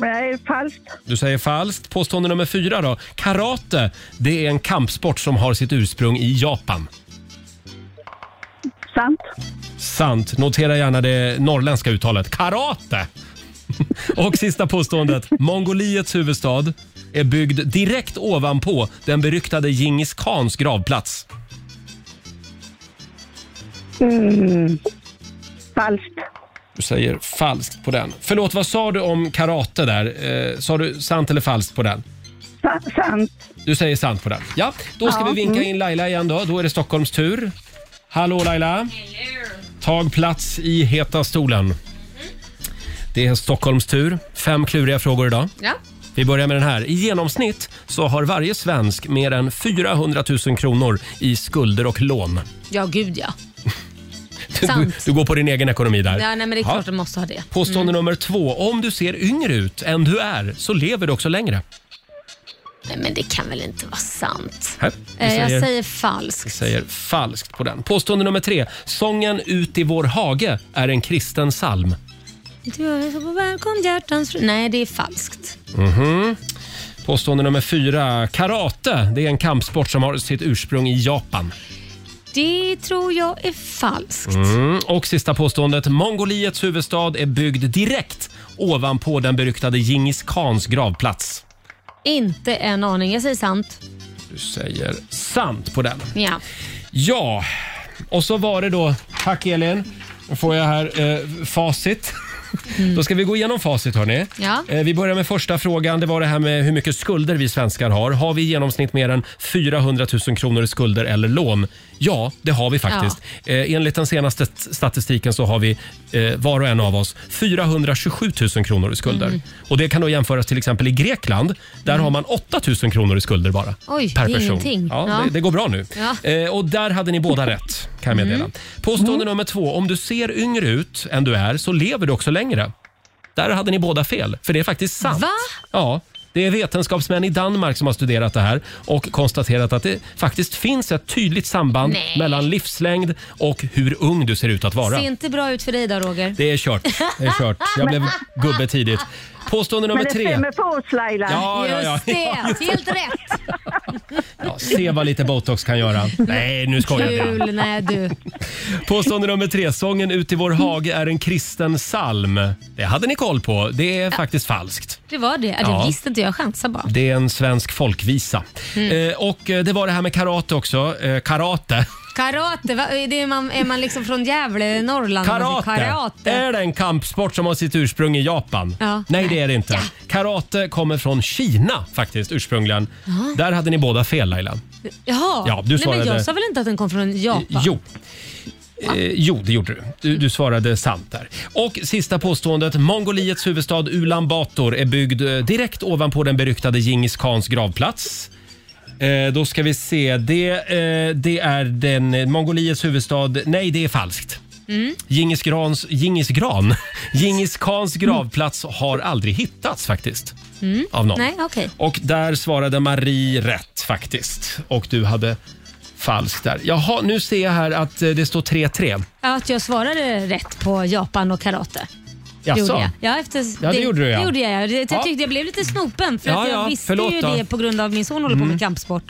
M: Nej, falskt.
A: Du säger falskt. Påstående nummer fyra då. Karate, det är en kampsport som har sitt ursprung i Japan.
M: Sant.
A: Sant. Notera gärna det norrländska uttalet. Karate! Och sista påståendet. Mongoliets huvudstad är byggd direkt ovanpå den beryktade Djingis Khans gravplats.
M: Mm. Falskt.
A: Du säger falskt på den. Förlåt, vad sa du om karate där? Eh, sa du sant eller falskt på den?
M: Sa- sant.
A: Du säger sant på den. Ja, då ska
M: Ja,
A: vi vinka
M: mm.
A: in Laila igen då. Då är det Stockholms tur. Hallå Laila! Tag plats i heta stolen. Det är Stockholms tur. Fem kluriga frågor idag.
C: Ja.
A: Vi börjar med den här. I genomsnitt så har varje svensk mer än 400 000 kronor i skulder och lån.
C: Ja, gud ja.
A: Du, du,
C: Sant.
A: du går på din egen ekonomi där.
C: ja nej, men det är
A: Ja.
C: klart du måste ha det.
A: Påstående
C: Mm.
A: nummer två. Om du ser yngre ut än du är så lever du också längre.
C: Nej, men det kan väl inte vara sant?
A: Här, du
C: Eh, Jag
A: säger-
C: säger falskt.
A: Vi säger falskt på den. Påstående nummer tre. Sången Ut i vår hage är en kristen psalm.
C: Du är så på välkom hjärtans fru. Nej, det är falskt.
A: Mhm. Påstående nummer fyra. Karate, det är en kampsport som har sitt ursprung i Japan.
C: Det tror jag är falskt.
A: Mm. Och sista påståendet. Mongoliets huvudstad är byggd direkt ovanpå den beryktade Djingis Khans gravplats.
C: Inte en aning. Jag säger sant.
A: Du säger sant på den.
C: Ja.
A: Ja, och så var det då... Tack Elin. Nu får jag här eh, facit. Då ska vi gå igenom facit hörni.
C: Mm. Ja.
A: Eh, Vi börjar med första frågan. Det var det här med hur mycket skulder vi svenskar har. Har vi i genomsnitt mer än 400 000 kronor i skulder eller lån? Ja, det har vi faktiskt. Eh, Enligt den senaste st- statistiken så har vi eh, var och en av oss 427 000 kronor i skulder.
C: Mm.
A: Och Det kan då jämföras till exempel i Grekland. Där har man 8 000 kronor i skulder bara.
C: Oj,
A: per
C: det är
A: person.
C: ingenting.
A: Ja,
C: Ja.
A: Det, det går bra nu.
C: Ja. Mm.
A: Eh, och där hade ni båda rätt, kan jag meddela. Påstående nummer två. Om du ser yngre ut än du är så lever du också längre. Där hade ni båda fel, för det är faktiskt sant.
C: Va?
A: Ja. Det är vetenskapsmän i Danmark som har studerat det här och konstaterat att det faktiskt finns ett tydligt samband
C: Nej.
A: mellan livslängd och hur ung du ser ut att vara.
C: Ser inte bra ut för dig då Roger.
A: Det är kört. Det är kört. Jag blev gubbe tidigt. Påstående nummer
M: Men det
A: tre.
M: stämmer på oss Laila.
A: Ja, ja, ja. Just det.
C: Helt rätt.
A: Ja, se vad lite botox kan göra. Nej, nu skojar jag. bara.
C: Kul, nej du.
A: Påstående nummer tre. Sången Ut i vår
C: Mm.
A: hage är en kristen psalm. Det hade ni koll på. Det är faktiskt falskt.
C: Det var det. Ja, det
A: Ja.
C: visste inte jag. Jag chansade bara.
A: Det är en svensk folkvisa.
C: Mm.
A: Eh, och eh, det var det här med karate också. Eh, karate.
C: Karate, va? Är, det är man, är man liksom från Gävle, Norrland? alltså,
A: Karate. Eh,
C: Karate.
A: Är det en kampsport som har sitt ursprung i Japan?
C: Ja.
A: Nej, det är det inte. Karate kommer från Kina faktiskt ursprungligen.
C: Jaha.
A: Där hade ni båda fel Laila.
C: Jaha,
A: Ja, du
C: Nej, men
A: svarade-
C: jag sa väl inte att den kom från Japan?
A: Jo. Eh, jo, det gjorde du. du. Du svarade sant där. Och sista påståendet. Mongoliets huvudstad Ulan Bator är byggd eh, direkt ovanpå den beryktade Djingis Khans gravplats. Eh, då ska vi se. Det, eh, det är den eh, Mongoliets huvudstad. Nej, det är falskt.
C: Mm.
A: Djingis Grans, Djingis Gran. Djingis Khans gravplats har aldrig hittats faktiskt.
C: Mm.
A: Av någon.
C: Nej, okej.
A: Och där svarade Marie rätt faktiskt. Och du hade falskt där. Jaha, nu ser jag här att eh, det står 3-3.
C: Att jag svarade rätt på Japan och karate.
A: Jaså?
C: Gjorde jag. Ja, efter,
A: Ja, det gjorde du, ja.
C: Det gjorde jag. Det- Jag
A: Ja.
C: tyckte jag blev lite snopen för
A: Ja,
C: att jag
A: ja,
C: visste
A: förlåt
C: ju
A: då.
C: det på grund av min son håller på
A: Mm.
C: med kampsport.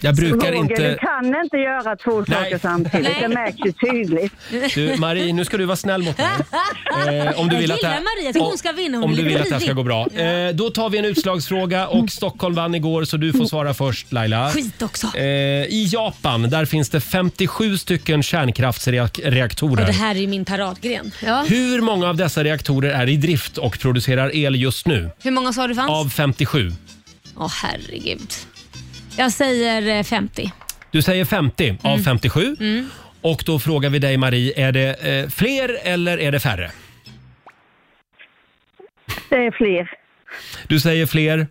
A: Jag brukar
M: Roger, Du
A: inte...
M: kan inte göra två saker samtidigt. Det märks ju tydligt.
A: Du, Marie, nu ska du vara snäll mot mig. Eh, om du
C: jag
A: vill
C: gillar
A: att det här,
C: Maria, jag tycker hon ska vinna. Hon
A: om
C: är
A: du
C: lite
A: vill att det här ska
C: rivig.
A: gå bra. Eh, då tar vi en utslagsfråga och Stockholm vann igår så du får svara först Laila.
C: Skit också.
A: Eh, I Japan där finns det 57 stycken
C: Och det
A: kärnkraftsreaktorer.
C: här är ju min paradgren. Ja.
A: Hur många av dessa reaktorer är i drift och producerar el just nu?
C: Hur många sa du fanns?
A: Av 57.
C: Åh herregud. Jag säger eh, 50.
A: Du säger 50 av 57.
C: Mm.
A: Och då frågar vi dig Marie, är det eh, fler eller är det färre?
M: Det är fler.
A: Du säger fler.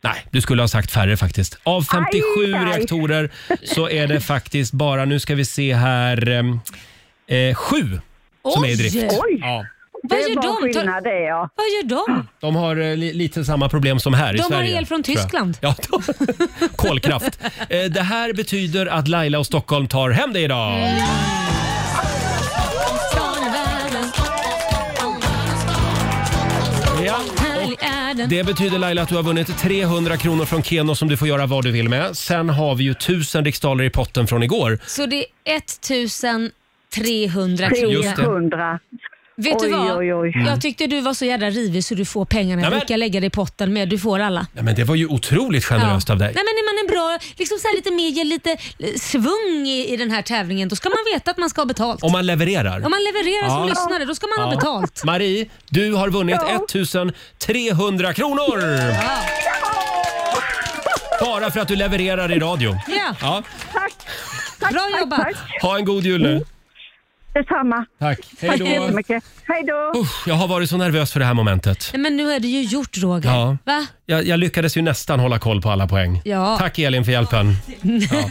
A: Nej, du skulle ha sagt färre faktiskt. Av 57
M: Aj, aj.
A: reaktorer så är det faktiskt bara, nu ska vi se här, em, eh, sju som är i drift.
M: Oj!
A: Ja.
M: Vad
C: gör de? Tar-
M: Skillnad, det är jag.
C: Vad gör de?
A: De har eh, li- lite samma problem som här i
C: De har
A: Sverige.
C: el från
A: tror jag.
C: Tyskland.
A: Ja, de, kolkraft. Eh, det här betyder att Laila och Stockholm tar hem det idag. Ja.
C: Härlig är den.
A: Det betyder Laila att du har vunnit 300 kronor från Keno som du får göra vad du vill med. Sen har vi ju 1000 riksdaler i potten från igår.
C: Så det är 1300
A: Just det.
C: kronor. Vet du
M: Oj,
C: vad?
M: oj, oj.
A: Mm.
C: Jag tyckte du var så jädra rivig så du får pengarna. Jag
A: Nämen.
C: brukar lägga det i potten med. Du får alla.
A: Nej, men det var ju otroligt generöst
C: Ja.
A: av dig.
C: Nej, men är man en bra, liksom så här lite mer, ger lite eh, svung i, i den här tävlingen, då ska man veta att man ska ha betalt.
A: Om man levererar.
C: Om man levererar som lyssnare, då ska man ha betalt.
A: Marie, du har vunnit 1300 kronor! Bara för att du levererar i radio.
C: Ja.
A: Ja.
C: Bra jobbat!
A: Ha en god jul
C: Mm.
A: nu.
M: Detsamma.
A: Tack. Hej
M: Tack så
A: då.
M: jättemycket. Hej då.
A: Usch, Jag har varit så nervös för det här momentet.
C: Nej, Men nu är det ju gjort Roger.
A: Ja.
C: Va?
A: Jag, jag lyckades ju nästan hålla koll på alla poäng.
C: Ja.
A: Tack Elin för hjälpen. Ja.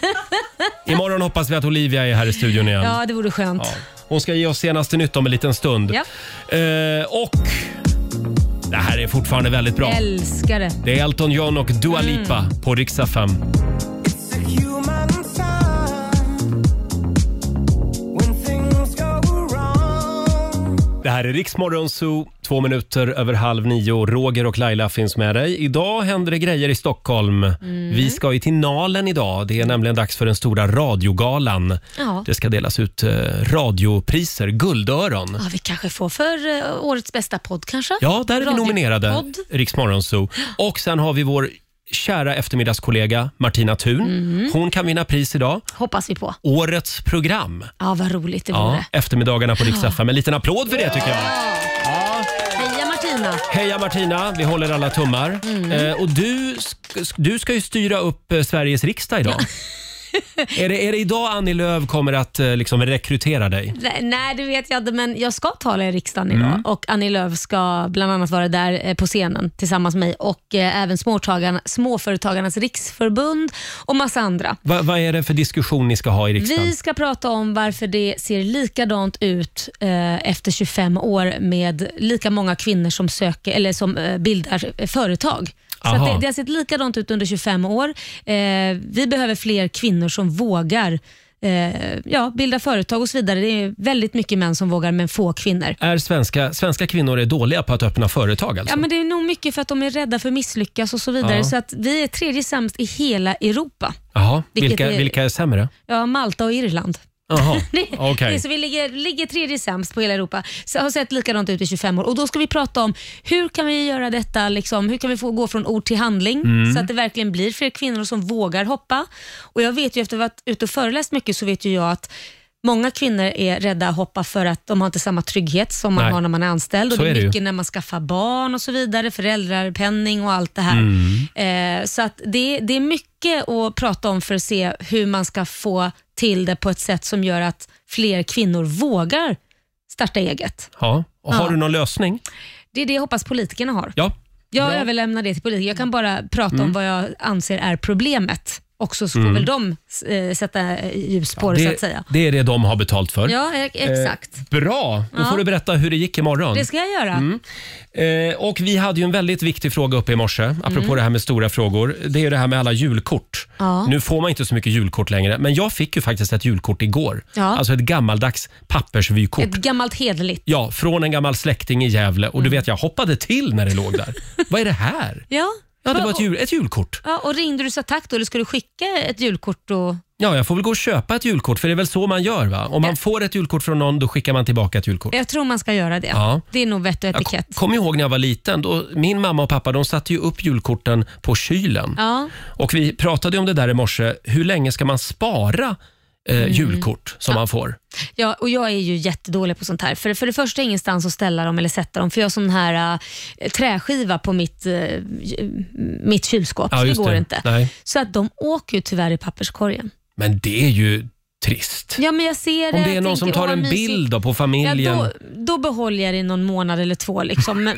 A: Imorgon hoppas vi att Olivia är här i studion igen.
C: Ja, det vore skönt.
A: Hon ska ge oss senaste nytt om en liten stund.
C: Ja.
A: Eh, och det här är fortfarande väldigt bra.
C: Älskar det.
A: Det är Elton John och Dua Lipa på Riksa 5.
F: Human time. When things go wrong.
A: Det här är Riksmorgon Zoo, två minuter över halv nio. Roger och Laila finns med dig. Idag händer det grejer i Stockholm. Vi ska ju till Nalen idag. Det är nämligen dags för den stora radiogalan.
C: Ja.
A: Det ska delas ut eh, radiopriser, guldöron.
C: Ja, vi kanske får för eh, årets bästa podd kanske?
A: Ja, där är vi
C: Radio-
A: nominerade.
C: Podd.
A: Riksmorgon Zoo. Och sen har vi vår kära eftermiddagskollega Martina Thun.
C: Mhm.
A: Hon kan vinna pris idag.
C: Hoppas vi på.
A: Årets program.
C: Ja, vad roligt det
A: Ja,
C: vore.
A: eftermiddagarna på Rix FM. En liten applåd för det tycker jag.
C: Heja Martina!
A: Heja Martina, vi håller alla tummar.
C: Mm.
A: Eh, och du, sk- du ska ju styra upp eh, Sveriges riksdag idag. är, det, är det idag Annie Lööf kommer att eh, liksom rekrytera dig?
C: Nej, Nej, det vet jag inte, men jag ska tala i riksdagen idag
A: Mm.
C: och Annie Lööf ska bland annat vara där eh, på scenen tillsammans med mig och eh, även småtagarna- Småföretagarnas riksförbund och massa andra.
A: Va, vad är det för diskussion ni ska ha i riksdagen?
C: Vi ska prata om varför det ser likadant ut eh, efter 25 år med lika många kvinnor som, söker, eller som eh, bildar eh, företag. Så att
A: Aha.
C: det, det har sett likadant ut under 25 år. Eh, vi behöver fler kvinnor som vågar eh, ja, bilda företag och så vidare. Det är väldigt mycket män som vågar, men få kvinnor.
A: Är svenska, svenska kvinnor är dåliga på att öppna företag alltså?
C: Ja, men det är nog mycket för att de är rädda för att misslyckas och så vidare.
A: Ja.
C: Så att vi är tredje sämst i hela Europa.
A: Jaha,
C: Vilket
A: vilka,
C: är-
A: vilka är sämre?
C: Ja, Malta och Irland.
A: Jaha,
C: Det-
A: okej.
C: det är Så vi ligger, ligger tredje sämst på hela Europa. Så har sett likadant ut i 25 år. Och Då ska vi prata om hur kan vi göra detta, liksom, hur kan vi få gå från ord till handling
N: Mm.
C: så att det verkligen blir fler kvinnor som vågar hoppa. Och Jag vet ju efter att ha varit ute och föreläst mycket så vet ju jag att Många kvinnor är rädda att hoppa för att de har inte samma trygghet som man
N: Nej.
C: har när man är anställd. Och
N: Så
C: det
N: är
C: är
N: det ju.
C: mycket när man skaffar barn och så vidare, föräldrapenning och allt det här.
A: Mm.
C: Eh, så att det, det är mycket att prata om för att se hur man ska få till det på ett sätt som gör att fler kvinnor vågar starta eget.
A: Ja. Och har
C: Ja.
A: du någon lösning?
C: Det är det jag hoppas politikerna har.
A: Ja.
C: Jag
A: Bra.
C: överlämnar det till politiker. Jag kan bara prata
A: Mm.
C: om vad jag anser är problemet. Också så får
A: Mm.
C: väl de eh, sätta eh, ljus på det, så att säga.
A: det är det de har betalt för.
C: Ja, e- exakt.
A: Eh, bra, då
C: Ja.
A: får du berätta hur det gick imorgon.
C: Det ska jag göra.
A: Mm. Eh, och vi hade ju en väldigt viktig fråga uppe i morse, apropå
C: Mm.
A: det här med stora frågor. Det är ju det här med alla julkort.
C: Ja.
A: Nu får man inte så mycket julkort längre, men jag fick ju faktiskt ett julkort igår.
C: Ja.
A: Alltså ett gammaldags pappersvykort.
C: Ett gammalt hederligt.
A: Ja, från en gammal släkting i Gävle. Och du
C: Mm.
A: vet, jag hoppade till när det låg där. Vad är det här?
C: Ja.
A: Ja, det
C: Va-
A: var ett, jul, ett julkort.
C: Ja, och ringde du så tack då eller ska du skicka ett julkort? Och...
A: Ja, jag får väl gå och köpa ett julkort, för det är väl så man gör va? Om man får ett julkort från någon, då skickar man tillbaka ett julkort.
C: Jag tror man ska göra det.
A: Ja.
C: Det är nog vett och
A: Jag ko-
C: etikett.
A: kom ihåg när jag var liten, då, min mamma och pappa de satte ju upp julkorten på kylen.
C: Ja.
A: Och vi pratade ju om det där i morse, hur länge ska man spara eh,
C: Mm.
A: julkort som man får?
C: Ja, och jag är ju jättedålig på sånt här. För, för det första är det ingenstans att ställa dem eller sätta dem, för jag har sån här äh, träskiva på mitt, äh, mitt kylskåp, så det
A: just
C: går inte.
A: Nej.
C: Så att de åker ju tyvärr i papperskorgen.
A: Men det är ju trist.
C: Ja, men jag ser
A: Om
C: det,
A: det är
C: jag
A: någon som
C: tänker,
A: tar
C: åh,
A: en
C: vad mysigt.
A: bild då, på
C: Ja,
A: familjen.
C: då, då behåller jag det i någon månad eller två. Liksom. Men,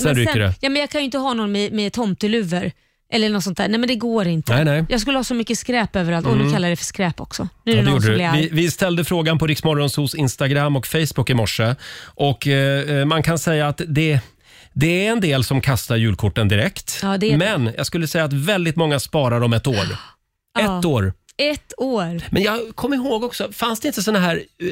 A: Sen ryker det.
C: Ja, men jag kan ju inte ha någon med, med tomteluvor eller något sånt där. Nej, men det går inte.
A: Nej, nej.
C: Jag skulle ha så mycket skräp överallt. Och nu
A: Mm.
C: kallar jag det för skräp också. Nu är
A: Ja,
C: det
A: det
C: någon
A: gjorde
C: som
A: du.
C: blir arg.
A: Vi, vi ställde frågan på Riksmorgonsos Instagram och Facebook i morse. Och, eh, man kan säga att det, det är en del som kastar julkorten direkt.
C: Ja, det är det.
A: Men jag skulle säga att väldigt många sparar dem ett år.
C: Ja.
A: Ett år.
C: Ett år.
A: Men jag kommer ihåg också, fanns det inte såna här eh,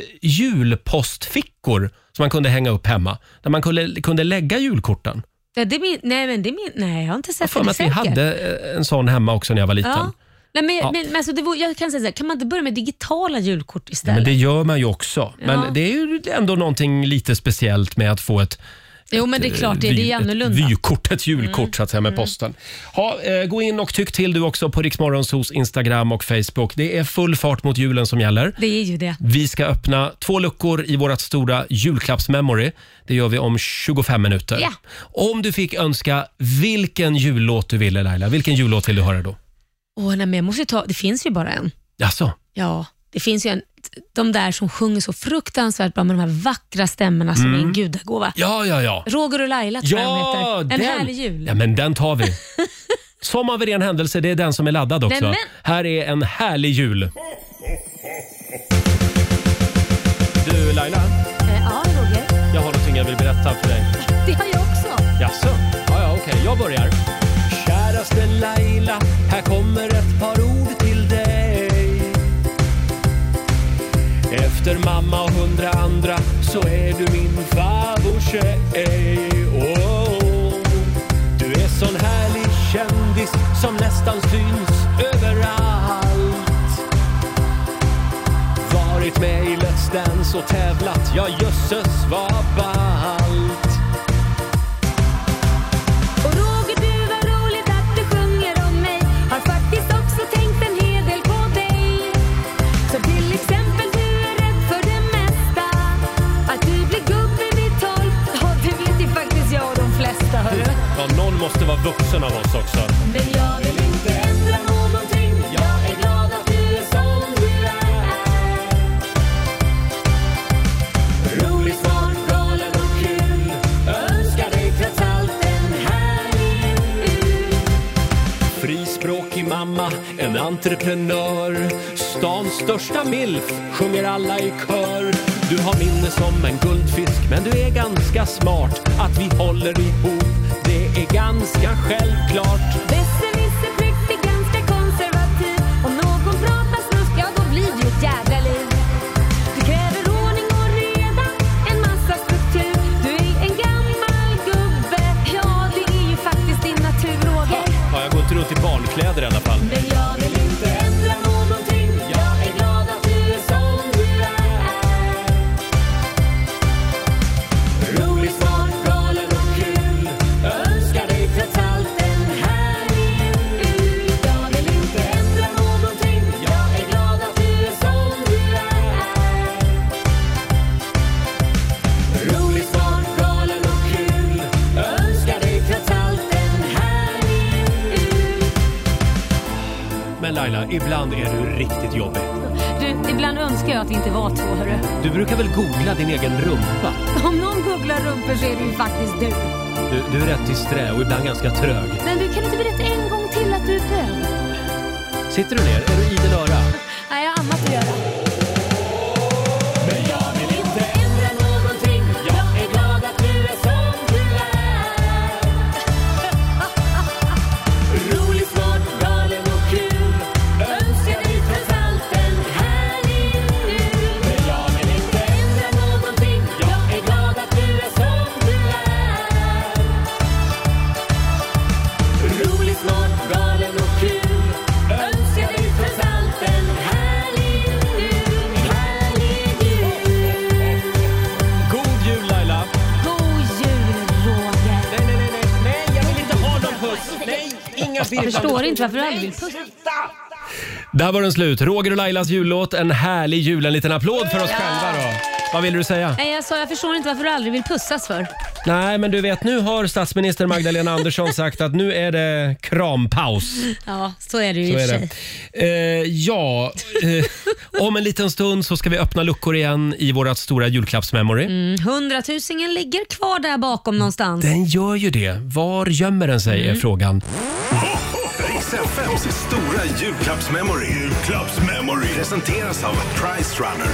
A: julpostfickor som man kunde hänga upp hemma? Där man kunde, kunde lägga julkorten.
C: Ja, det min, nej, men det min, nej, jag har inte
A: Jag
C: sett
A: för mig
C: det.
A: att vi hade eh, en sån hemma också när jag var liten.
C: Ja. Nej, men,
A: Ja.
C: men, men alltså, det vore, jag kan säga så här, kan man inte börja med digitala julkort
A: Ja,
C: istället?
A: men det gör man ju också. Men
C: Ja.
A: det är ju ändå någonting lite speciellt med att få ett
C: jo, men det är klart, det, det är ju
A: Vy-
C: annorlunda. Mm.
A: Ett vykort, ett julkort så att säga med posten. Ha, eh, gå in och tyck till du också på Riksmorgonsos Instagram och Facebook. Det är full fart mot julen som gäller.
C: Det är ju det.
A: Vi ska öppna två luckor i vårt stora julklappsmemory. Det gör vi om 25 minuter.
C: Ja.
A: Om du fick önska vilken jullåt du ville Laila, vilken jullåt vill du höra då?
C: Åh, nej, men jag måste ju ta, det finns ju bara en.
A: Jaså?
C: Ja, det finns ju en, de där som sjunger så fruktansvärt bra med de här vackra stämmorna som
A: Mm.
C: är en gudagåva.
A: Ja, ja, ja.
C: Roger och Laila tror jag de
A: Ja,
C: heter. En
A: den.
C: härlig jul.
A: Ja, men den tar vi. Som av en ren händelse, det är den som är laddad också.
C: Nämen.
A: Här är en härlig jul. Du Laila,
C: Eh, ja, Roger.
A: jag har någonting jag vill berätta för dig.
C: Det har jag också.
A: Jaså? Ja, ja, okej. Jag börjar. Käraste Laila, här kommer ett par ord till dig. Efter mamma och hundra andra så är du min favorittjej. Oh, du är sån härlig kändis som nästan syns överallt. Varit med i Let's Dance och tävlat, ja jösses vad ballt.
N: Och Roger, du var roligt att du sjunger om mig. Har faktiskt också tänkt en hel del på dig. Så till exempel, du är rädd för det mesta. Att du blir gubbe vid tolv. Ja, det vet ju faktiskt jag och de flesta, hörru.
A: Ja, någon måste vara vuxen av oss också.
N: Men jag vill inte ändra någonting. Jag är glad att du är som du är. Rolig, smart, galen och kul. Önskar dig trots allt en härlig jul.
A: Frispråkig mamma, en entreprenör. Stans största milf, sjunger alla i kör. Du har minne som en guldfisk, men du är ganska
O: ganska smart att vi håller ihop. Det är ganska självklart.
N: Besserwisser, präktig, ganska konservativ. Om någon pratar snusk, ja då blir det ett jädra liv. Du kräver ordning och reda, en massa struktur. Du är en gammal gubbe, ja det är ju faktiskt din natur, Roger.
O: Ja, jag går inte runt i barnkläder i alla fall.
N: Men jag vill inte ändra någonting. Jag är glad att du är som du är. Rolig, smart, galen och kul. Jag önskar dig trots allt en härlig jul. Jag vill inte ändra någonting. Jag är glad att du är som du är. Rolig, smart, galen och kul. Jag önskar dig trots allt en härlig jul.
O: Men Laila, ibland är du riktigt jobbig.
C: Du, ibland önskar jag att vi inte var två, hörru.
O: Du brukar väl googla din egen rumpa?
C: Om någon googlar rumpor så är det ju faktiskt du.
O: Du, du är rätt disträ och ibland ganska trög.
N: Men du kan inte berätta en gång till att du är bög?
O: Sitter du ner? Är du idel öra?
N: Nej, jag har annat att göra. Önskar dig trots allt en härlig jul, härlig jul
O: God jul Laila!
N: God jul, Roger.
O: Nej, nej, nej, nej, nej, jag vill inte ha någon puss. Nej, inga
C: Jag
O: bilder.
C: förstår inte varför du aldrig vill pussa.
A: Där var den slut. Roger och Lailas jullåt. En härlig jul. En liten applåd för oss själva då. Vad vill du säga?
C: Nej, jag sa jag förstår inte varför du aldrig vill pussas för.
A: Nej, men du vet, nu har statsminister Magdalena Andersson sagt att nu är det krampaus.
C: Ja, så är det ju
A: Så
C: i och för
A: är
C: sig.
A: det. Eh, ja, eh, om en liten stund så ska vi öppna luckor igen i vårt stora julklappsmemory.
C: Mm, hundratusingen ligger kvar där bakom någonstans.
A: Den gör ju det. Var gömmer den sig är
C: Mm.
A: frågan.
K: Riks FMs stora julklappsmemory. Julklappsmemory. Presenteras av Price Runner.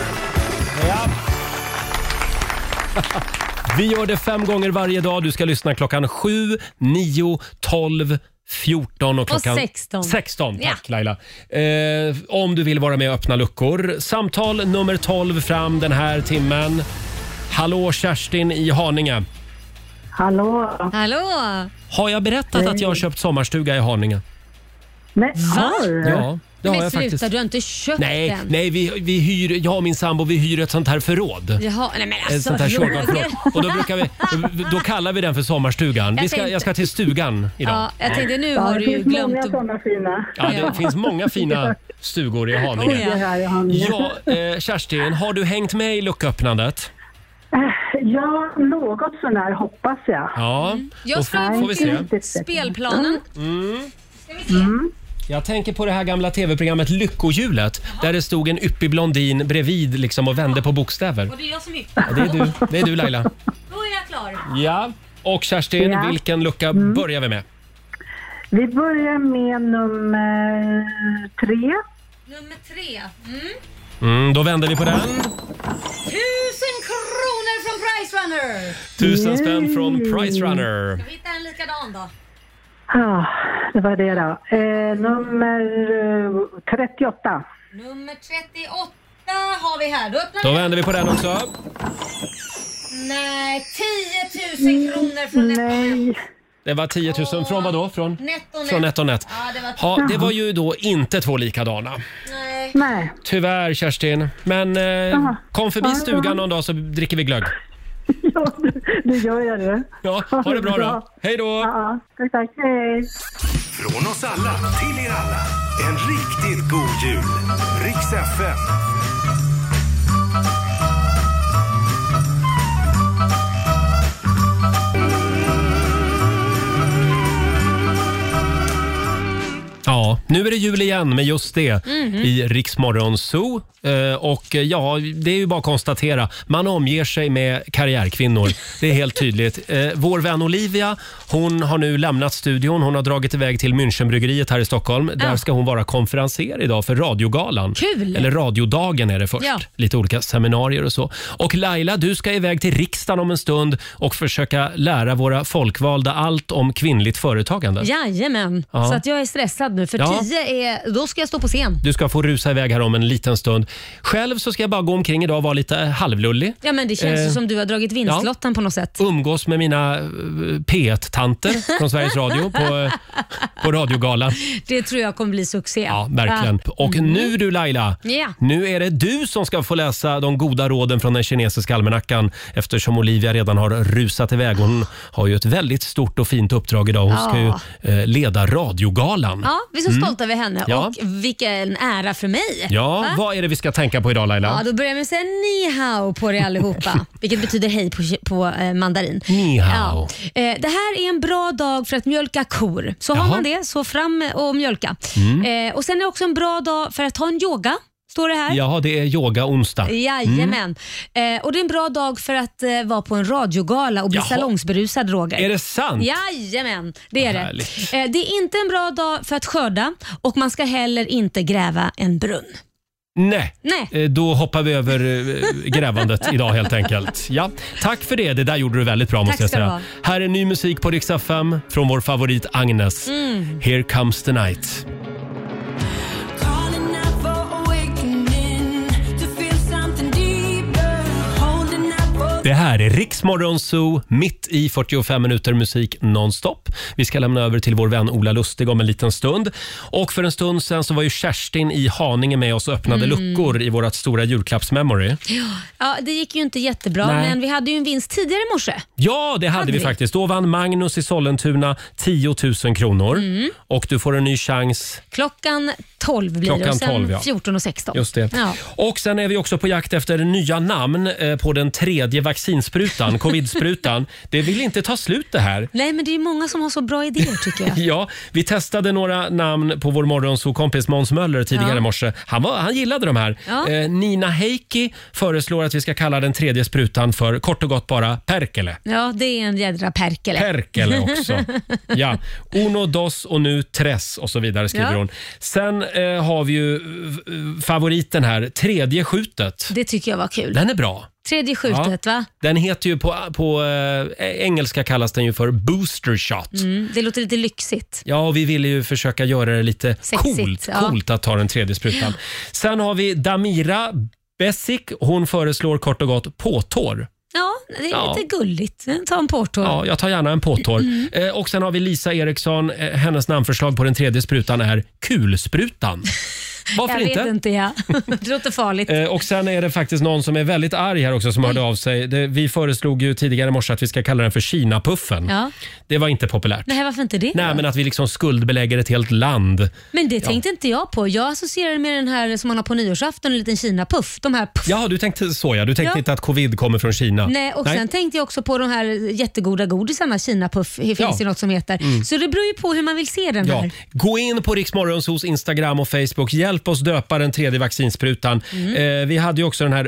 A: Vi gör det fem gånger varje dag. Du ska lyssna klockan 7, 9, 12, 14 och
C: Och
A: klockan
C: 16.
A: 16, tack
C: Ja.
A: Laila. Eh, om du vill vara med och öppna luckor. Samtal nummer 12 fram den här timmen. Hallå Kerstin i Haninge.
M: Hallå?
C: Hallå?
A: Har jag berättat att jag har köpt sommarstuga i Haninge?
M: Men,
C: Va?
A: Ja, det har
C: Men
A: jag
C: sluta,
A: faktiskt.
C: du har inte köpt
A: Nej,
C: den.
A: nej vi, vi hyr, jag och min sambo vi hyr ett sånt här förråd.
C: Jaha, nej men
A: Ett
C: alltså
A: sånt här
C: Roger.
A: tjoggarförråd. Och då, brukar vi, då kallar vi den för sommarstugan.
C: Jag
A: vi ska,
C: tänkte-
A: jag ska till stugan idag.
C: Ja, jag tänkte nu
M: Ja,
C: har
M: det
C: du ju
M: finns
C: glömt
M: många
C: att...
M: sådana fina.
A: Ja, det finns många fina stugor i
M: Oh, ja. Det
A: Haninge.
M: här är han.
A: Ja, eh, Kerstin, har du hängt med i lucköppnandet?
M: Ja, något sånär hoppas jag.
A: Ja,
C: Mm. Jag
A: då
C: sprang
A: får vi se.
C: till spelplanen.
A: Mm. Jag tänker på det här gamla tv-programmet Lyckohjulet där det stod en yppig blondin bredvid liksom och vände på bokstäver.
C: Och det är jag som gick.
A: Ja, det, är du. det är du Laila.
C: Då är jag klar.
A: Ja. Och Kerstin,
M: Ja.
A: vilken lucka
C: Mm.
A: börjar vi med?
M: Vi börjar med nummer tre.
C: Nummer tre. Mm.
A: Mm, då vänder vi på den.
C: Tusen kronor från Price Runner!
A: Tusen spänn från Price Runner.
C: Ska vi hitta en likadan då?
M: Ja, det var det då. Eh, nummer eh, 38.
C: Nummer 38 har vi här. Då öppnar
A: Då
C: vi.
A: vänder vi på den också.
C: Nej, 10 000 kronor från Nej.
A: Det var 10 000 från vad då? Från
C: Nettonet.
A: Från Netonet.
C: Ja, det var-
A: Ja, det var ju då inte två likadana.
M: Nej.
A: Tyvärr Kerstin. Men eh,
M: Aha.
A: kom förbi
M: Ja, ja.
A: stugan någon dag så dricker vi glögg.
M: Ja, nu gör jag det.
A: Ja, ha det bra då. Hej då!
M: Ja, tack, tack. Hej.
K: Från oss alla till er alla. En riktigt god jul. Riks FM.
A: Ja, Nu är det jul igen med just det
N: Mhm.
A: i Riksmorgon Zoo. Eh, Och eh, ja, det är ju bara att konstatera. Man omger sig med karriärkvinnor. Det är helt tydligt. Eh, Vår vän Olivia, hon har nu lämnat studion. Hon har dragit iväg till Münchenbryggeriet här i Stockholm. Där
C: Ja.
A: ska hon vara konferenser idag för radiogalan.
C: Kul!
A: Eller radiodagen är det först.
C: Ja.
A: Lite olika seminarier och så. Och Laila, du ska iväg till riksdagen om en stund och försöka lära våra folkvalda allt om kvinnligt företagande.
C: Jajamän,
A: Ja.
C: så att jag är stressad nu för
A: Ja.
C: tio är, då ska jag stå på scen.
A: Du ska få rusa iväg här om en liten stund. Själv så ska jag bara gå omkring idag och vara lite halvlullig.
C: Ja men det känns ju
A: Eh,
C: som du har dragit vinstlotten på något sätt.
A: Umgås med mina eh, P1-tanter från Sveriges Radio på, eh, på radiogalan.
C: Det tror jag kommer bli succé.
A: Ja, verkligen.
C: Va?
A: Och
C: Mm.
A: nu du Laila,
C: Ja.
A: nu är det du som ska få läsa de goda råden från den kinesiska almanackan eftersom Olivia redan har rusat iväg. Hon har ju ett väldigt stort och fint uppdrag idag. Hon ska ju
C: Ja.
A: eh, leda radiogalan.
C: Ja, vi är så
A: Mm.
C: stolta över henne
A: Ja.
C: och vilken ära för mig.
A: Ja,
C: Va?
A: vad är det vi ska tänka på idag Laila?
C: Ja, då börjar vi med att säga ni hao på er allihopa, vilket betyder hej på, på eh, mandarin.
A: Ni hao.
C: Ja. Eh, det här är en bra dag för att mjölka kor. Så har
N: Jaha.
C: man det, så fram och mjölka.
A: Mm.
C: Eh, och Sen är det också en bra dag för att ha en yoga, står det här.
A: Jaha, det är yoga onsdag.
C: Jajamän. Eh, och det är en bra dag för att eh, vara på en radiogala och bli
A: Jaha.
C: salongsberusad, Roger.
A: Är det sant?
C: Jajamän, det är det.
A: Härligt.
C: Eh, det är inte en bra dag för att skörda och man ska heller inte gräva en brunn.
A: Nej.
C: Nej.
A: Eh, Då hoppar vi över eh, grävandet idag helt enkelt. Ja. Tack för det. Det där gjorde du väldigt bra
C: Tack
A: måste jag
C: ska du
A: säga.
C: ha.
A: Här är ny musik på Rix FM från vår favorit Agnes.
N: Mm.
A: Here comes the night.
N: Calling out for awakening to feel something deeper. Holding out for
A: Det här är Rix Morgon Zoo, mitt i 45 minuter musik nonstop. Vi ska lämna över till vår vän Ola Lustig om en liten stund. Och för en stund sen så var ju Kerstin i Haninge med oss och öppnade
C: Mm.
A: luckor i vårt stora julklappsmemory.
C: Ja, det gick ju inte jättebra,
A: Nej.
C: men vi hade ju en vinst tidigare i morse.
A: Ja, det hade,
C: Hade
A: vi
C: vi?
A: faktiskt. Då vann Magnus i Sollentuna 10 000 kronor.
C: Mm.
A: Och du får en ny chans.
C: Klockan 12 blir det
A: Klockan
C: och sen
A: 12, ja.
C: 14 och 16.
A: Just det.
C: Ja.
A: Och sen är vi också på jakt efter nya namn eh, på den tredje vaccinsprutan, covidsprutan. Det vill inte ta slut det här.
C: Nej, men det är ju många som har så bra idéer tycker jag.
A: Ja, vi testade några namn på vår morgonsokompis Måns Möller tidigare
C: Ja.
A: i morse. Han, var, han gillade de här.
C: Ja.
A: Eh, Nina Heikki föreslår att vi ska kalla den tredje sprutan för kort och gott bara Perkele.
C: Ja, det är en jädra perkele.
A: Perkele också. Ja. Uno, dos och nu tres och så vidare skriver
C: Ja.
A: hon. Sen eh, har vi ju eh, favoriten här, tredje skjutet.
C: det tycker jag var kul.
A: Den är bra.
C: Tredje skjutet, va?
A: Den heter ju på, på eh, engelska kallas den ju för booster shot.
C: Mm, det låter lite lyxigt.
A: Ja, och vi ville ju försöka göra det lite
C: Sexigt,
A: coolt,
C: ja.
A: coolt att ta den tredje sprutan. Sen har vi Damira Besic. Hon föreslår kort och gott påtår.
C: Ja, det är
A: Ja.
C: lite gulligt. Ta en portor.
A: Ja, jag tar gärna en påtår.
C: Mm.
A: Eh, och sen har vi Lisa Eriksson. Eh, hennes namnförslag på den tredje sprutan är kulsprutan. Varför
C: jag
A: inte?
C: vet inte, ja. det låter farligt.
A: Eh, och sen är det faktiskt någon som är väldigt arg här också som
C: Mm.
A: hörde av sig. Det, vi föreslog ju tidigare i morse att vi ska kalla den för Kinapuffen.
C: Ja.
A: Det var inte populärt.
C: Nej, varför inte det?
A: Nej, men att vi liksom skuldbelägger ett helt land.
C: Men det
A: Ja.
C: tänkte inte jag på. Jag associerar med den här som man har på nyårsafton, en liten kinapuff. De här puff.
A: Ja, du tänkte så ja. Du tänkte
C: Ja.
A: inte att covid kommer från Kina.
C: Nej, och sen tänkte jag också på de här jättegoda godisarna, kinapuff, det finns
A: Ja.
C: ju något som heter.
A: Mm.
C: Så det beror ju på hur man vill se den
A: Ja.
C: här.
A: Gå in på Riksmorgonsos Instagram och Facebook. Hjälp oss döpa den tredje vaccinsprutan.
C: Mm.
A: Eh, vi hade ju också den här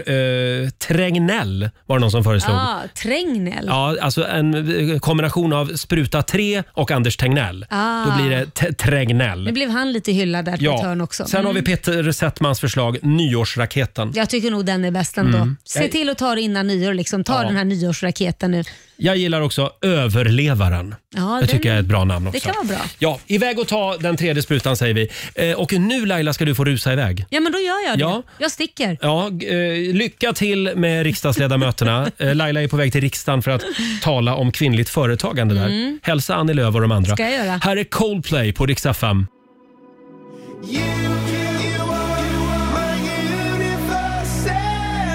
A: eh, Trängnell, var det någon som föreslog.
C: ah, Trängnell.
A: Ja, alltså en eh, kombination av spruta 3 och Anders Tegnell.
C: Ah.
A: Då blir det t- Trängnell.
C: Nu blev han lite hyllad där på ett hörn också.
A: Sen har vi
C: Mm.
A: Peter Settmans förslag, nyårsraketen.
C: Jag tycker nog den är bäst ändå.
A: Mm.
C: Se till att ta det innan nyår. Liksom. Ta
A: Ja.
C: den här nyårsraketen nu.
A: Jag gillar också överlevaren.
C: Ja,
A: det tycker
C: den-
A: jag är ett bra namn
C: det
A: också.
C: kan vara bra.
A: Ja, iväg och ta den tredje sprutan säger vi. Eh, och nu Laila ska du få rusa iväg.
C: Ja, men då gör jag det.
A: Ja.
C: Jag sticker.
A: Ja, g- eh, lycka till med riksdagsledamöterna. Eh, Laila är på väg till riksdagen för att tala om kvinnligt företagande där.
C: Mm.
A: Hälsa Annie Lööf och de andra.
C: Ska jag göra.
A: Här är Coldplay på riksdag 5.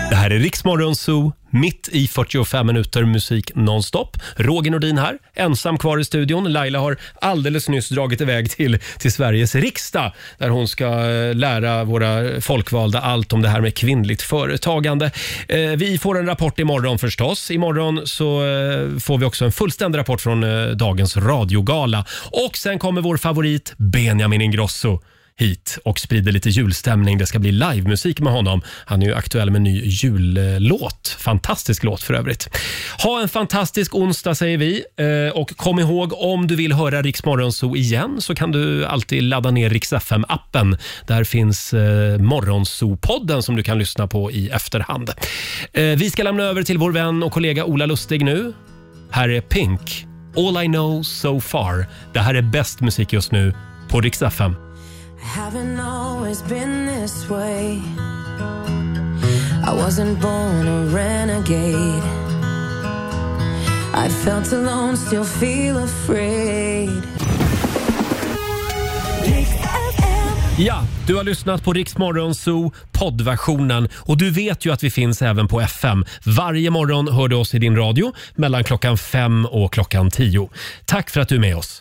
A: Det här är Riksmorgon Zoo Mitt i 45 minuter musik nonstop. Roger Nordin här, ensam kvar i studion. Laila har alldeles nyss dragit iväg till, till Sveriges riksdag där hon ska eh, lära våra folkvalda allt om det här med kvinnligt företagande. Eh, Vi får en rapport imorgon förstås. Imorgon så eh, får vi också en fullständig rapport från eh, dagens radiogala. Och sen kommer vår favorit Benjamin Ingrosso hit och sprider lite julstämning. Det ska bli livemusik med honom. Han är ju aktuell med en ny jullåt. Fantastisk låt för övrigt. Ha en fantastisk onsdag säger vi. Eh, Och kom ihåg, om du vill höra Rix Morgonzoo igen så kan du alltid ladda ner Rix FM-appen. Där finns eh, Morgonzoo-podden som du kan lyssna på i efterhand. Eh, Vi ska lämna över till vår vän och kollega Ola Lustig nu. Här är Pink, All I know so far. Det här är bäst musik just nu på Rix FM.
F: Haven't always been this way. I wasn't born a renegade. I felt alone, still feel afraid.
A: Ja, du har lyssnat på Rix Morgonzoo poddversionen och du vet ju att vi finns även på FM. Varje morgon hör du oss i din radio mellan klockan fem och klockan tio. Tack för att du är med oss.